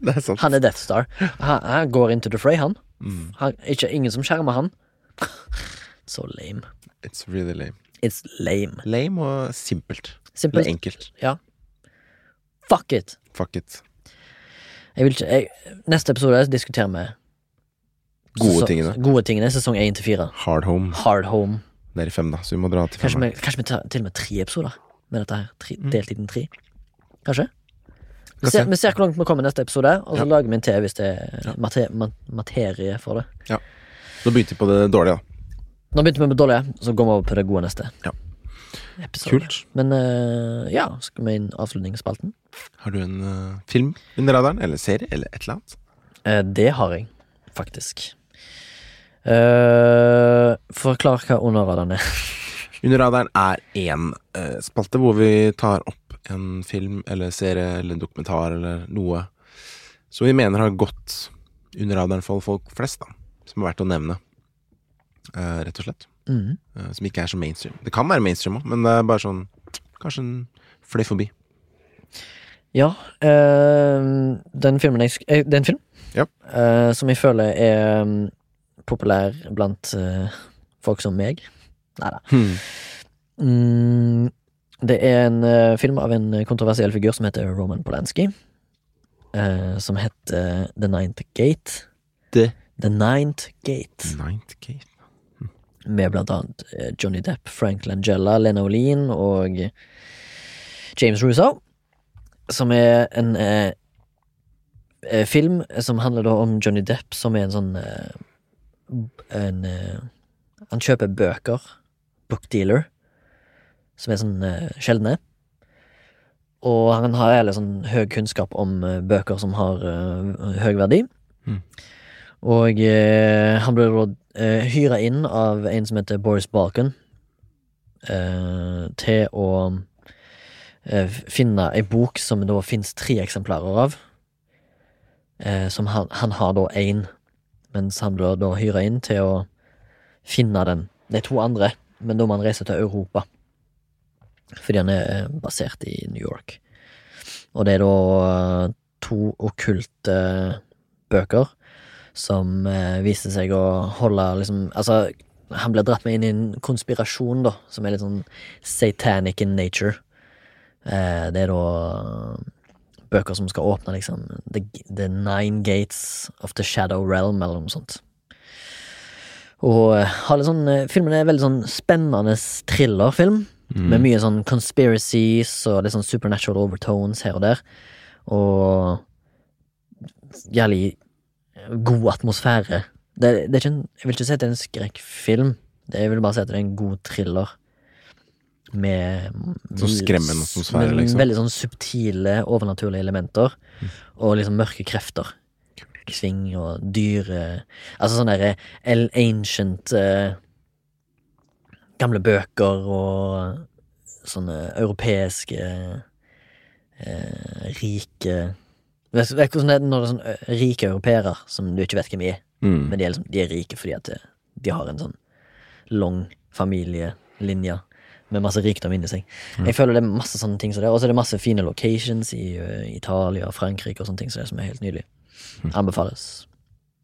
Speaker 2: det er sant.
Speaker 1: Han er Death Star. Han, han går into the fray, han.
Speaker 2: Mm.
Speaker 1: han ikke, ingen som skjermer han. Så lame.
Speaker 2: It's really lame.
Speaker 1: It's lame.
Speaker 2: Lame og simpelt.
Speaker 1: Simpelt.
Speaker 2: Eller enkelt.
Speaker 1: Ja. Fuck it.
Speaker 2: Fuck it.
Speaker 1: Jeg vil ikke, jeg, neste episode diskuterer vi
Speaker 2: Gode
Speaker 1: sesong-
Speaker 2: tingene.
Speaker 1: Gode tingene, Sesong 1 til 4.
Speaker 2: Hard home.
Speaker 1: Hard home.
Speaker 2: Det er i fem, da, så vi må dra til
Speaker 1: Kanskje
Speaker 2: fem.
Speaker 1: vi, kanskje vi tar til og med tre episoder med dette her. Tre,
Speaker 2: Mm.
Speaker 1: Deltiden tre. Kanskje? Vi
Speaker 2: Kan
Speaker 1: ser,
Speaker 2: se.
Speaker 1: vi ser hvor langt vi kommer i neste episode, og så
Speaker 2: Ja.
Speaker 1: lager vi en til hvis det er mate, ma- materie for det.
Speaker 2: Nå begynte vi på det dårlige, da.
Speaker 1: Nå begynte vi med dårlige, så går vi over på det gode neste.
Speaker 2: Ja.
Speaker 1: Episode.
Speaker 2: Kult.
Speaker 1: Men eh, ja, skal vi inn avslutningsspalten?
Speaker 2: Har du en eh, film under radaren? Eller serie? Eller et eller annet?
Speaker 1: Eh, det har jeg, faktisk. Eh, forklar hva underradaren er.
Speaker 2: Under radaren er én eh, spalte hvor vi tar opp en film eller serie eller dokumentar eller noe som vi mener har gått under radaren for folk flest, da. Som er verdt å nevne, eh, rett og slett.
Speaker 1: Mhm.
Speaker 2: Eh, som ikke er så mainstream. Det kan være mainstream òg, men det er bare sånn Kanskje en fløy forbi.
Speaker 1: Ja, eh, den filmen jeg sk- eh, Det er en film
Speaker 2: Ja.
Speaker 1: eh, som jeg føler er mm, populær blant eh, folk som meg. Nei da. Mm, det er en eh, film av en kontroversiell figur som heter Roman Polanski. eh, som heter The Ninth Gate.
Speaker 2: The
Speaker 1: The Ninth Gate.
Speaker 2: Ninth Gate.
Speaker 1: Med blant annet eh, Johnny Depp, Frank Langella, Lena Olin og James Russo. Som er en eh, eh, film som handler da om Johnny Depp, som er en sånn eh, en, eh, Han kjøper bøker, book dealer, som er sånn eh, sjeldne. Og han har jævlig sånn høy kunnskap om eh, bøker som har eh, høy verdi.
Speaker 2: Mm.
Speaker 1: Og eh, han ble da eh, hyra inn av en som heter Boris Balkan, eh, til å eh, finne ei bok som det da fins tre eksemplarer av. Eh, som han, han har da én, mens han ble da hyra inn til å finne den. De to andre, men da må han reise til Europa. Fordi han er eh, basert i New York. Og det er da eh, to okkulte eh, bøker som eh, viser seg å holde liksom Altså, han blir dratt med inn i en konspirasjon, da, som er litt sånn satanic in nature. Eh, det er da eh, bøker som skal åpne liksom the, the Nine Gates of the Shadow Realm, eller noe sånt. Og eh, har litt sånn, eh, filmen er veldig sånn spennende thrillerfilm,
Speaker 2: Hmm. Mm.
Speaker 1: med mye sånn conspiracies og litt sånn supernatural overtones her og der. Og jævlig god atmosfære. Det, det er ikke en, jeg vil ikke si at det er en skrekkfilm, Det- jeg vil bare si at det er en god thriller. Med
Speaker 2: Sånn skremmende atmosfære,
Speaker 1: med
Speaker 2: liksom. Mm.
Speaker 1: Veldig sånn subtile, overnaturlige elementer. Og liksom mørke krefter. Sving og dyre Altså sånne derre El Ancient eh, Gamle bøker og sånne europeiske eh, Rike Vet vet du hvordan det er når det er sånn eh, rike europeere som du ikke vet hvem er?
Speaker 2: Mm.
Speaker 1: Men de er, liksom, de er rike fordi at eh, de har en sånn lang familielinje med masse rikdom inni seg.
Speaker 2: Mm.
Speaker 1: Jeg føler det er masse sånne ting som det, og så er det masse fine locations i eh, Italia og Frankrike og sånne ting som det, som er helt nydelig.
Speaker 2: Mm.
Speaker 1: Anbefales.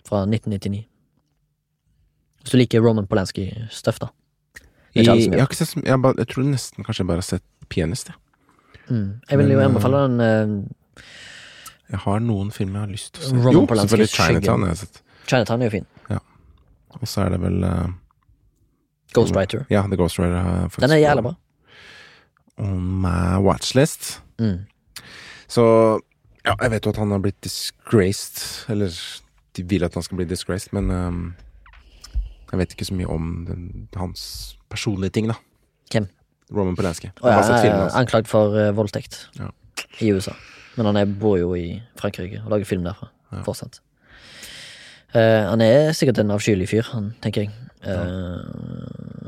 Speaker 1: Fra 1999. Hvis du liker Roman Polanski-stuff, da.
Speaker 2: I,
Speaker 1: Det er ikke alle som
Speaker 2: jeg,
Speaker 1: gjør
Speaker 2: har ikke sett, så mye- jeg, har bare, jeg tror nesten kanskje jeg bare har sett Pianist. Jeg,
Speaker 1: Mm. Jeg vil jo
Speaker 2: Men,
Speaker 1: anbefale den eh,
Speaker 2: jeg har noen filmer jeg har lyst til å se.
Speaker 1: Roman
Speaker 2: jo,
Speaker 1: Polanskis
Speaker 2: selvfølgelig
Speaker 1: Skyggen.
Speaker 2: Chinatown har jeg sett.
Speaker 1: Chinatown er jo fin.
Speaker 2: Og så er det vel eh,
Speaker 1: Ghostwriter.
Speaker 2: Ja, The Ghost Rider. har jeg faktisk
Speaker 1: Den er
Speaker 2: på-
Speaker 1: jævlig bra.
Speaker 2: On my watchlist.
Speaker 1: Mm.
Speaker 2: Så ja, jeg vet jo at han har blitt disgraced. Eller de vil at han skal bli disgraced, men ehm, jeg vet ikke så mye om den, hans personlige ting, da.
Speaker 1: Hvem?
Speaker 2: Roman Polanski.
Speaker 1: Og
Speaker 2: Jeg har sett
Speaker 1: jeg
Speaker 2: filmen
Speaker 1: er
Speaker 2: hans.
Speaker 1: anklagd for eh, voldtekt
Speaker 2: Ja.
Speaker 1: i USA. Men han er, bor jo i Frankrike og lager film derfra fortsatt. Eh, han er sikkert en avskyelig fyr, han, tenker jeg. Eh,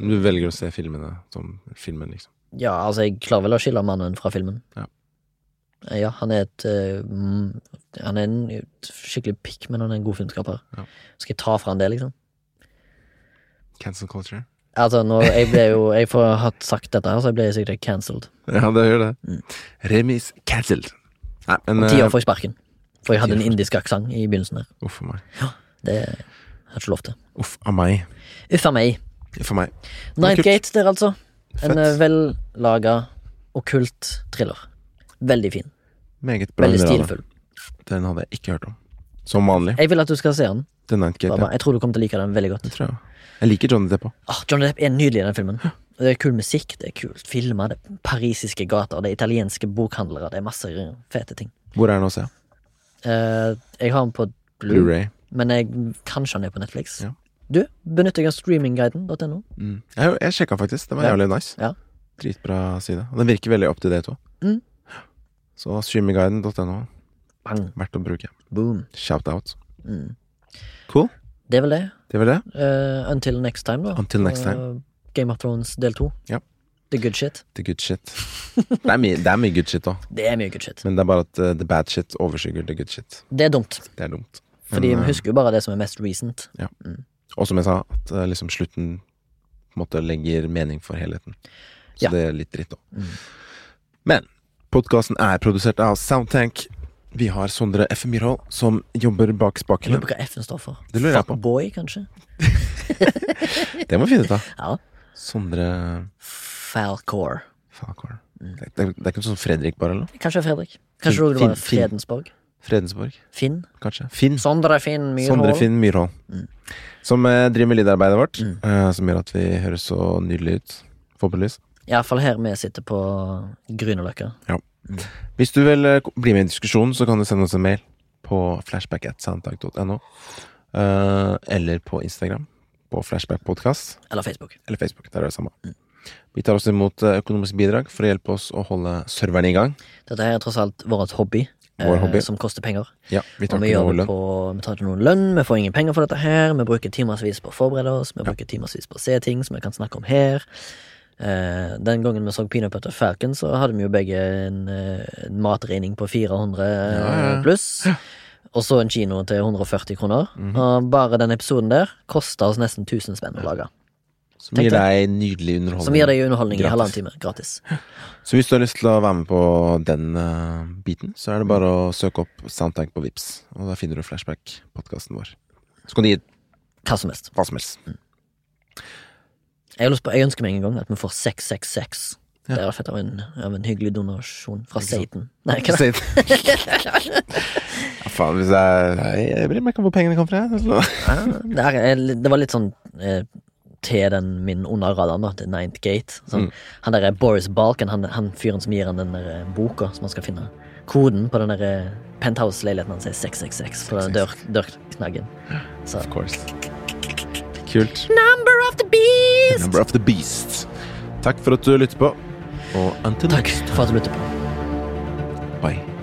Speaker 2: Du velger å se filmene som filmen, liksom.
Speaker 1: ja, altså, jeg klarer vel å skille mannen fra filmen.
Speaker 2: Ja.
Speaker 1: Eh, ja, han er et eh, mm, Han er en skikkelig pikk, men han er en god filmskaper.
Speaker 2: Ja.
Speaker 1: Skal jeg ta fra han det, liksom?
Speaker 2: Cancel culture.
Speaker 1: Altså, nå, jeg ble jo Jeg får hatt sagt dette, her, så jeg ble sikkert cancelled.
Speaker 2: Ja, det gjør det. Remis cancelled. Nei, men
Speaker 1: Om Mm. ti
Speaker 2: eh,
Speaker 1: år får jeg sparken. For jeg hadde
Speaker 2: ti år
Speaker 1: en indisk aksent i begynnelsen der.
Speaker 2: Uff a meg.
Speaker 1: Det har jeg ikke lov til.
Speaker 2: Uff a meg.
Speaker 1: Uff a meg.
Speaker 2: For meg.
Speaker 1: Night
Speaker 2: Kult.
Speaker 1: Gate der, altså. En
Speaker 2: Fett.
Speaker 1: eh, vellaga, okkult thriller. Veldig fin.
Speaker 2: Meget bra.
Speaker 1: Veldig
Speaker 2: underholdende.
Speaker 1: stilfull.
Speaker 2: Den hadde jeg ikke hørt om. Som vanlig.
Speaker 1: Jeg vil at du skal se den.
Speaker 2: The Night Gate.
Speaker 1: Baba.
Speaker 2: Ja.
Speaker 1: Jeg tror du kommer til å like den veldig godt.
Speaker 2: Det tror jeg. Jeg liker Johnny Depp òg.
Speaker 1: Ah, Johnny Depp er nydelig i den filmen. Det er kul musikk, det er kult filma, det er parisiske gater, det er italienske bokhandlere, det er masse eh, fete ting.
Speaker 2: Hvor er den å se?
Speaker 1: Eh, jeg har den på Blu,
Speaker 2: Blu-ray.
Speaker 1: men jeg, kanskje den er på Netflix.
Speaker 2: Ja.
Speaker 1: Du, benytter jeg av streamingguiden.no?
Speaker 2: Mm. Jeg, jeg sjekka faktisk. Den var
Speaker 1: Ja.
Speaker 2: jævlig nice.
Speaker 1: Ja.
Speaker 2: Dritbra side. Og den virker veldig up to date òg.
Speaker 1: Mm.
Speaker 2: Så streamingguiden.no.
Speaker 1: Bang,
Speaker 2: Verdt å bruke.
Speaker 1: boom.
Speaker 2: Shout-out.
Speaker 1: Mm.
Speaker 2: Cool.
Speaker 1: Det er vel det.
Speaker 2: Det var det.
Speaker 1: Eh, until next time, da.
Speaker 2: Until next time.
Speaker 1: Eh, Game of Thrones del to.
Speaker 2: Ja.
Speaker 1: The good shit.
Speaker 2: The good shit. det, er mye, det er mye good shit òg,
Speaker 1: Det er mye good shit.
Speaker 2: men det er bare at eh, the bad shit overskygger the good shit.
Speaker 1: Det er dumt,
Speaker 2: Det er dumt.
Speaker 1: fordi
Speaker 2: Men,
Speaker 1: vi
Speaker 2: eh,
Speaker 1: husker jo bare det som er mest recent.
Speaker 2: Og som jeg sa, at eh, liksom slutten på en måte legger mening for helheten. Så
Speaker 1: Ja.
Speaker 2: det er litt dritt òg. Men podkasten er produsert av Soundtank. Vi har Sondre F. Myrhold, som jobber bak
Speaker 1: Jeg
Speaker 2: spakene.
Speaker 1: lurer på hva F-en står for.
Speaker 2: Det lurer jeg på.
Speaker 1: Fuckboy, kanskje?
Speaker 2: Det må vi finne ut av.
Speaker 1: Ja.
Speaker 2: Sondre
Speaker 1: Falcor.
Speaker 2: Falkor. Det, det, det er ikke sånn Fredrik, bare? eller noe?
Speaker 1: Kanskje Fredrik. Kanskje
Speaker 2: Finn-
Speaker 1: det var
Speaker 2: Finn- Finn.
Speaker 1: Fredensborg.
Speaker 2: Fredensborg,
Speaker 1: Finn.
Speaker 2: kanskje? Finn. Mm.
Speaker 1: Sondre Finn
Speaker 2: Sondre
Speaker 1: Myrhold.
Speaker 2: Finn Myrhold. Som eh, driver med lydarbeidet vårt, eh, som gjør at vi høres så nydelig ut. Forhåpentligvis.
Speaker 1: Iallfall her vi sitter på Grünerløkka.
Speaker 2: Hvis du vil eh, bli med i diskusjonen, så kan du sende oss en mail på flashback.soundtank.no. eh, eller på Instagram, på flashbackpodkast.
Speaker 1: Eller Facebook.
Speaker 2: Eller Facebook. Der er det samme.
Speaker 1: Mm.
Speaker 2: Vi tar også imot eh, økonomiske bidrag for å hjelpe oss å holde serverne i gang.
Speaker 1: Dette her er tross alt vår hobby, eh,
Speaker 2: Vår hobby.
Speaker 1: som koster penger.
Speaker 2: Ja, vi tar
Speaker 1: Og vi,
Speaker 2: ikke
Speaker 1: gjør
Speaker 2: noe
Speaker 1: det
Speaker 2: lønn.
Speaker 1: på, vi tar ikke noen lønn, vi får ingen penger for dette her. Vi bruker timersvis på å forberede oss, vi bruker timersvis på å se ting som vi kan snakke om her. Eh, den gangen vi så Peanut Butter Falcon, så hadde vi jo begge en, eh, en matregning på 400
Speaker 2: Ja, ja. Mhm.
Speaker 1: pluss. Og så en kino til 140 kroner. Og bare den episoden der kosta oss nesten 1000 spenn å lage.
Speaker 2: Som gir
Speaker 1: Tenk
Speaker 2: deg nydelig underholdning.
Speaker 1: Som gir deg underholdning i
Speaker 2: Gratis.
Speaker 1: halvannen time. Gratis.
Speaker 2: Så hvis du har lyst til å være med på den eh, biten, så er det bare å søke opp Soundtank på Vips og da finner du Flashback-podkasten vår. Så kan du gi
Speaker 1: Hva som helst.
Speaker 2: hva som helst.
Speaker 1: Jeg, har lyst på, jeg ønsker meg en gang at vi får 666. Det hadde vært fett av en, av en hyggelig donasjon fra Satan. Nei, hva da?
Speaker 2: Så- ja, faen, hvis jeg Nei, Jeg bryr meg ikke om hvor pengene kommer fra. jeg.
Speaker 1: Ja, det, er, jeg- det var litt sånn eh, til den min under radaren, da, til Ninth Gate.
Speaker 2: Mm.
Speaker 1: Sånn. Han der er Boris Balkan, han, han fyren som gir han den der eh, boka som han skal finne. Koden på den der eh, penthouse-leiligheten hans er 666 på den dør, dørknaggen. Så
Speaker 2: Of course. Kult.
Speaker 1: Number of the beast!
Speaker 2: Number of the beast. Takk for at du lytter på, og until
Speaker 1: Takk
Speaker 2: next
Speaker 1: for at du lytter på.
Speaker 2: bye.